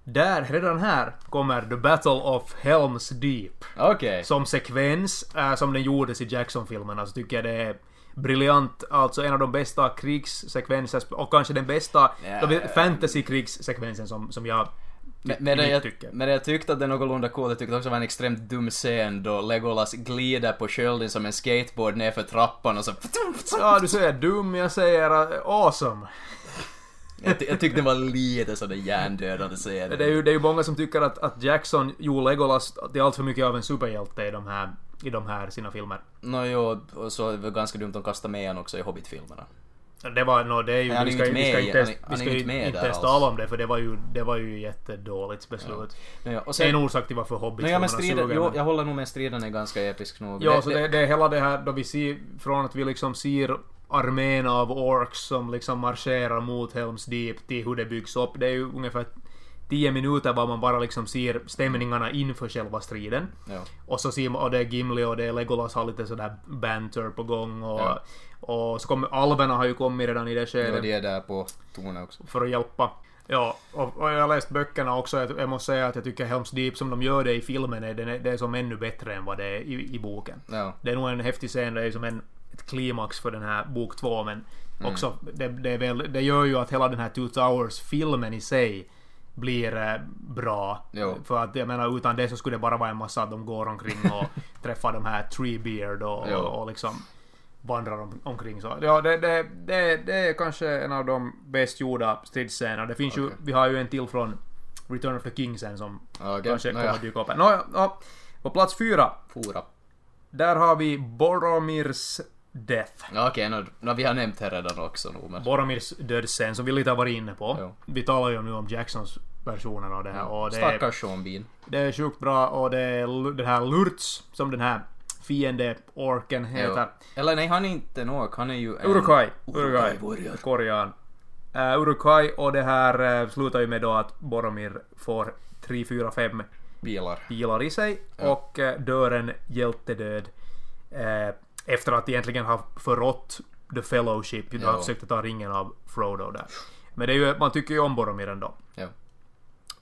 Speaker 2: Där, redan här, kommer The Battle of Helms Deep.
Speaker 3: Okej.
Speaker 2: Som sekvens, eh, som den gjordes i Jackson-filmerna, så tycker jag det är briljant. Alltså en av de bästa krigssekvenser, och kanske den bästa
Speaker 3: Ja.
Speaker 2: de fantasy-krigssekvensen som, som jag...
Speaker 3: Men- Medan
Speaker 2: mitt
Speaker 3: jag,
Speaker 2: tycke.
Speaker 3: medan jag tyckte att det är någorlunda coolt, jag tyckte också det var en extremt dum scen då Legolas glider på skölden som en skateboard nerför trappan och så...
Speaker 2: Ja, du säger dum, jag säger eh, awesome.
Speaker 3: Jag, ty- jag tyckte det var lite sådär hjärndödande scen.
Speaker 2: Det är ju, det är ju många som tycker att, att Jackson gjorde Legolas till allt för mycket av en superhjälte i de här, i de här sina filmer.
Speaker 3: Nå jo, och så är det väl ganska dumt att kasta med honom också i Hobbit-filmerna.
Speaker 2: Det var, no, det är ju,
Speaker 3: Nej, han
Speaker 2: vi
Speaker 3: är
Speaker 2: ska,
Speaker 3: ju inte
Speaker 2: vi ska
Speaker 3: med i-
Speaker 2: inte, ens-
Speaker 3: han
Speaker 2: vi
Speaker 3: är- han är
Speaker 2: ska
Speaker 3: ju inte
Speaker 2: ju
Speaker 3: med
Speaker 2: inte
Speaker 3: där
Speaker 2: ens
Speaker 3: alls.
Speaker 2: tala om det för det var ju, det var ju jättedåligt beslut.
Speaker 3: Nå ja, och
Speaker 2: Det är en
Speaker 3: sen...
Speaker 2: orsak till varför
Speaker 3: Nå ja,
Speaker 2: Hobbit-filmerna
Speaker 3: men
Speaker 2: suger.
Speaker 3: striden, jo,
Speaker 2: men-
Speaker 3: jag håller nog med striden är ganska episk nog.
Speaker 2: Ja, så det, det är hela det här då vi ser, från att vi liksom ser armén av orks som liksom marscherar mot Helms Deep till hur det byggs upp. Det är ju ungefär 10 minuter var man bara liksom ser stämningarna inför själva striden.
Speaker 3: Ja.
Speaker 2: Och så ser man, och det är Gimli och det är Legolas har lite sådär banter på gång och,
Speaker 3: Ja.
Speaker 2: och så kommer alverna har ju kommit redan i det skedet
Speaker 3: Ja, de är där på tornet också.
Speaker 2: för att hjälpa. Ja, och, och jag har läst böckerna också. Jag, jag måste säga att jag tycker Helms Deep som de gör det i filmen, är, den är, det är som ännu bättre än vad det är i, i boken.
Speaker 3: Ja.
Speaker 2: Det är nog en häftig scen, det är som en, ett klimax för den här bok två, men
Speaker 3: Mm.
Speaker 2: också det, det, är väl, det gör ju att hela den här Two Towers-filmen i sig blir eh, bra.
Speaker 3: Jo.
Speaker 2: För att jag menar, utan det så skulle det bara vara en massa att de går omkring och träffar de här Treebeard och,
Speaker 3: Jo.
Speaker 2: och, och liksom vandrar om, omkring. Så, ja, det, det, det, det är kanske en av de bäst gjorda stridsscenerna. Det finns ju,
Speaker 3: Okej. Ah,
Speaker 2: vi har ju en till från Return of the King sen som
Speaker 3: Okej,
Speaker 2: kanske
Speaker 3: nåja.
Speaker 2: kommer att dyka upp. här. Nåja, ja. På plats fyra,
Speaker 3: Fora.
Speaker 2: där har vi Boromirs Death.
Speaker 3: Ja, okej, okay, vi har nämnt här redan också nog men...
Speaker 2: Boromirs dödsscen som vi lite har varit inne på.
Speaker 3: Jo.
Speaker 2: Vi talar ju nu om Jacksons versionen av det här. Och det, är,
Speaker 3: Stackars Sean Bean.
Speaker 2: det är sjukt bra och det är lu- den här Lurtz som den här fiende-orken
Speaker 3: Jo.
Speaker 2: heter.
Speaker 3: Eller nej, han är inte en ork, han är ju en...
Speaker 2: Uruguay.
Speaker 3: Uruguay.
Speaker 2: Uruguay. Korjaan. Eh, Uruguay och det här eh, slutar ju med då att Boromir får 3, 4, 5
Speaker 3: Bilar.
Speaker 2: pilar i sig och eh, dör en hjältedöd eh, efter att egentligen ha förrått The Fellowship. Du har
Speaker 3: Ja.
Speaker 2: försökt att ta ringen av Frodo där. Men det är ju, man tycker ju om Boromir ändå.
Speaker 3: Ja.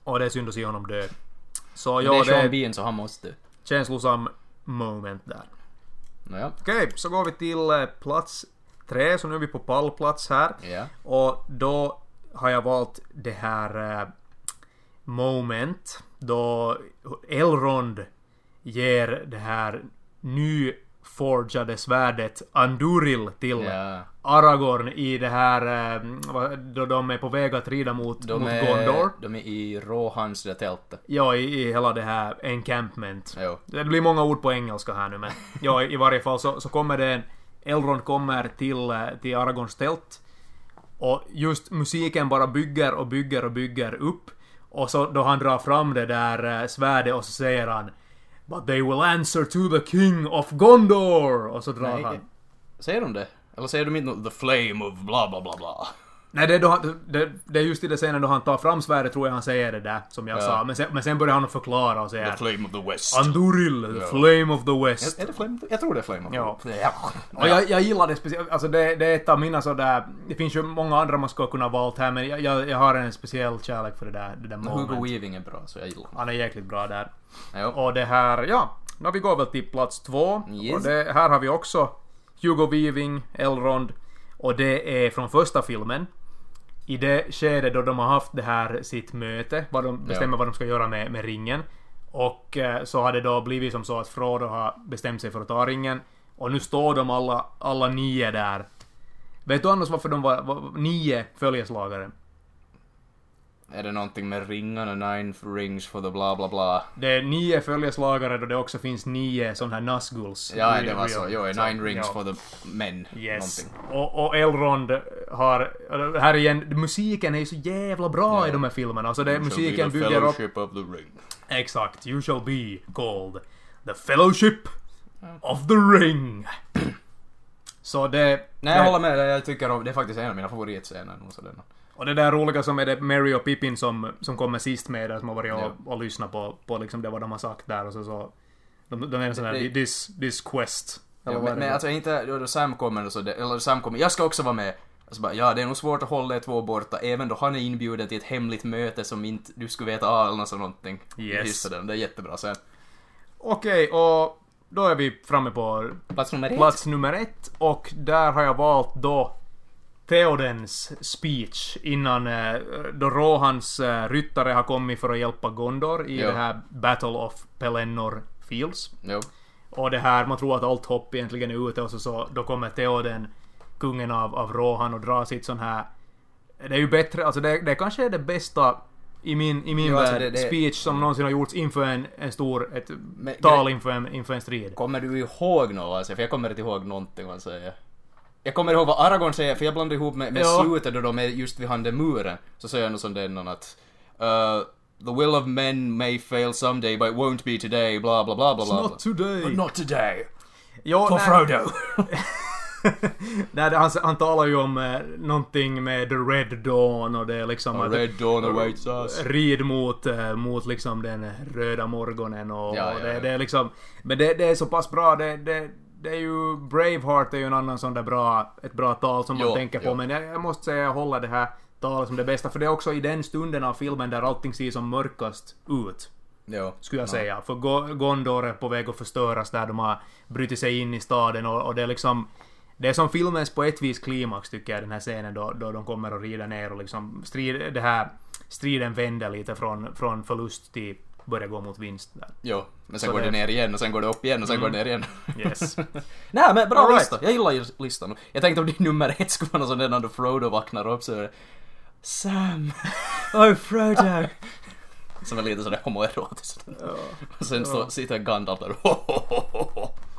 Speaker 2: Och det är synd att se honom dö. Så
Speaker 3: det
Speaker 2: ja,
Speaker 3: är
Speaker 2: det
Speaker 3: Sean
Speaker 2: är
Speaker 3: Bean så han måste.
Speaker 2: känslosam moment där.
Speaker 3: Nåja.
Speaker 2: Okej, så går vi till eh, plats tre, så nu är vi på pallplats här.
Speaker 3: Ja.
Speaker 2: Och då har jag valt det här eh, moment då Elrond ger det här nyforgade svärdet Anduril till
Speaker 3: Ja.
Speaker 2: Aragorn i det här eh, vad- då de är på väg att rida mot,
Speaker 3: De
Speaker 2: mot
Speaker 3: är,
Speaker 2: Gondor.
Speaker 3: de är i Rohans det tältet.
Speaker 2: Ja, i, i hela det här encampment.
Speaker 3: Jo.
Speaker 2: Det blir många ord på engelska här nu men ja, i varje fall så, så kommer det en... Elrond kommer till, eh, till Aragorns tält och just musiken bara bygger och bygger och bygger upp och så då han drar fram det där eh, svärdet och så säger han But they will answer to the king of Gondor! Och så drar
Speaker 3: Nej.
Speaker 2: han.
Speaker 3: Säger de det? Eller säger de inte något, The flame of bla bla bla bla?
Speaker 2: Nej, det är, då han, det, det är just i det scenen då han tar fram svärdet tror jag han säger det där som jag
Speaker 3: Ja.
Speaker 2: sa. Men sen, men sen börjar han förklara och säga
Speaker 3: The flame of the west.
Speaker 2: Anduril, the flame of the west.
Speaker 3: Är det flame? Jag tror det är flame of the
Speaker 2: Ja.
Speaker 3: west. Ja.
Speaker 2: Och jag, jag gillar det speciellt, alltså det, det är ett av mina sådär, det finns ju många andra man skulle kunna ha valt här men jag, jag, jag har en speciell kärlek för det där, det där
Speaker 3: Hugo
Speaker 2: moment.
Speaker 3: Weaving är bra, så jag gillar honom.
Speaker 2: Han är jäkligt bra där.
Speaker 3: Ja.
Speaker 2: Och det här, ja, nu vi går väl till plats två.
Speaker 3: Yes.
Speaker 2: Och det, här har vi också Hugo Weaving, Elrond. Och det är från första filmen. I det skede då de har haft det här sitt möte, vad de bestämmer vad de ska göra med, med ringen. Och eh, så har det då blivit som så att Frodo har bestämt sig för att ta ringen. Och nu står de alla, alla nio där. Vet du annars varför de var, var nio följeslagare?
Speaker 3: Är det någonting med ringarna, nine rings for the bla bla bla?
Speaker 2: Det är nio följeslagare då det också finns nio sådana här Nazguls.
Speaker 3: Ja,
Speaker 2: i
Speaker 3: det var
Speaker 2: Rio.
Speaker 3: så. Jo, nine rings
Speaker 2: ja.
Speaker 3: for the men.
Speaker 2: Yes.
Speaker 3: Någonting.
Speaker 2: Och, och Elrond har... eller Här igen, musiken är ju så jävla bra i de här filmerna. Alltså det, musiken bygger upp...
Speaker 3: of the ring.
Speaker 2: Exakt. You shall be called the fellowship of the ring. så det...
Speaker 3: Nej,
Speaker 2: det,
Speaker 3: jag håller med dig. Jag tycker om... Det är faktiskt en av mina favoritscener. nog, så denna.
Speaker 2: Och det där roliga som är det Mary och Pippin som, som kommer sist med det, som har varit och, och lyssnat på, på liksom det vad de har sagt där och så... så de, de är en sån
Speaker 3: Det-
Speaker 2: här
Speaker 3: det-
Speaker 2: this, this quest.
Speaker 3: Ja,
Speaker 2: Eller vad är
Speaker 3: men,
Speaker 2: det?
Speaker 3: men alltså inte... Då då Sam kommer och så... det- Eller Sam kommer... Jag ska också vara med. Alltså bara, ja, det är nog svårt att hålla er två borta, även då han är inbjuden till ett hemligt möte som inte du skulle veta av eller något sånt någonting.
Speaker 2: Yes.
Speaker 3: Jag gissar den, det är jättebra sen.
Speaker 2: Okej, och då är vi framme på
Speaker 3: Plats nummer ett.
Speaker 2: Plats nummer ett och där har jag valt då Theodens speech innan eh, då Rohans eh, ryttare har kommit för att hjälpa Gondor i
Speaker 3: Ja.
Speaker 2: det här Battle of Pelennor Fields.
Speaker 3: Jo.
Speaker 2: Och det här, man tror att allt hopp egentligen är ute och så, så då kommer Theoden, kungen av, av Rohan och drar sitt sån här... Det är ju bättre, alltså det, det kanske är det bästa i min, i min
Speaker 3: Jo, alltså
Speaker 2: värld
Speaker 3: det- det-
Speaker 2: speech som någonsin har gjorts inför en, en stor, ett
Speaker 3: Men-
Speaker 2: tal inför en, inför en strid.
Speaker 3: Kommer du ihåg något? Alltså, för jag kommer inte ihåg någonting vad han säger. Jag kommer ihåg vad Aragorn säger, för jag blandade ihop med, med
Speaker 2: Ja.
Speaker 3: slutet då de är just vid han den muren. Så säger han något sånt där någon att... Uh, the will of men may fail someday, but it won't be alltså. today, bla bla bla bla bla.
Speaker 2: Not today!
Speaker 3: Not today!
Speaker 2: Ja, nej.
Speaker 3: Frodo!
Speaker 2: Nej, det- han, han talar ju om eh, någonting med The Red Dawn och det är liksom... att-
Speaker 3: Red Dawn awaits us.
Speaker 2: Rid mot, eh, mot liksom den röda morgonen och,
Speaker 3: Ja,
Speaker 2: och
Speaker 3: ja,
Speaker 2: det,
Speaker 3: ja.
Speaker 2: det är liksom... Men det, det är så pass bra. Det, det, det är ju... Braveheart är ju en annan sån där bra... Ett bra tal som
Speaker 3: Jo,
Speaker 2: man tänker på.
Speaker 3: jo.
Speaker 2: Men jag, jag måste säga jag håller det här talet som det bästa. För det är också i den stunden av filmen där allting ser som mörkast ut
Speaker 3: Jo.
Speaker 2: skulle jag säga. För Go- Gondor är på väg att förstöras där de har brutit sig in i staden och, och det är liksom... Det är som filmens på ett vis klimax tycker jag, den här scenen då, då de kommer och rider ner och liksom strid, det här, striden vänder lite från, från förlust till börja gå mot vinst. Där.
Speaker 3: Jo. Men sen
Speaker 2: Så
Speaker 3: går det
Speaker 2: det- Mm.
Speaker 3: ner igen och sen går det upp igen och sen går det ner igen.
Speaker 2: Yes.
Speaker 3: Nej men bra
Speaker 2: All right.
Speaker 3: lista, jag gillar ju listan. Jag tänkte om din nummer ett skulle vara någon sån där när Frodo vaknar upp så är det Sam! Oh Frodo! Som är lite sådär homoerotiskt. Och sen står, sitter Gandalf där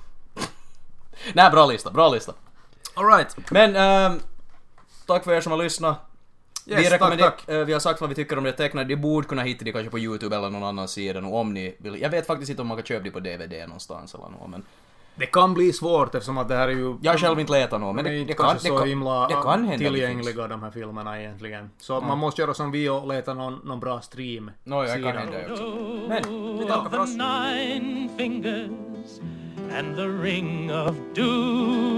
Speaker 3: Nej, bra lista, bra lista.
Speaker 2: Alright!
Speaker 3: Men ehm, tack för er som har lyssnat. vi,
Speaker 2: Yes, tack,
Speaker 3: rekommenderar-
Speaker 2: tack!
Speaker 3: eh, vi har sagt vad vi tycker om det tecknade. Ni borde kunna hitta det kanske på Youtube eller någon annan sida. Och om ni vill. Jag vet faktiskt inte om man kan köpa det på DVD någonstans eller något, men
Speaker 2: Det kan bli svårt eftersom att det här är ju...
Speaker 3: jag har själv inte letat något. Men
Speaker 2: de är
Speaker 3: det, det
Speaker 2: inte
Speaker 3: kan,
Speaker 2: kanske
Speaker 3: det
Speaker 2: så
Speaker 3: kan,
Speaker 2: himla
Speaker 3: det kan hända. det finns.
Speaker 2: tillgängliga de här filmerna egentligen. Så man måste göra som vi och leta någon, någon bra stream.
Speaker 3: Nåja, det kan hända också. Men, vi tackar för
Speaker 4: the
Speaker 3: oss.
Speaker 4: nine fingers and the ring of doom.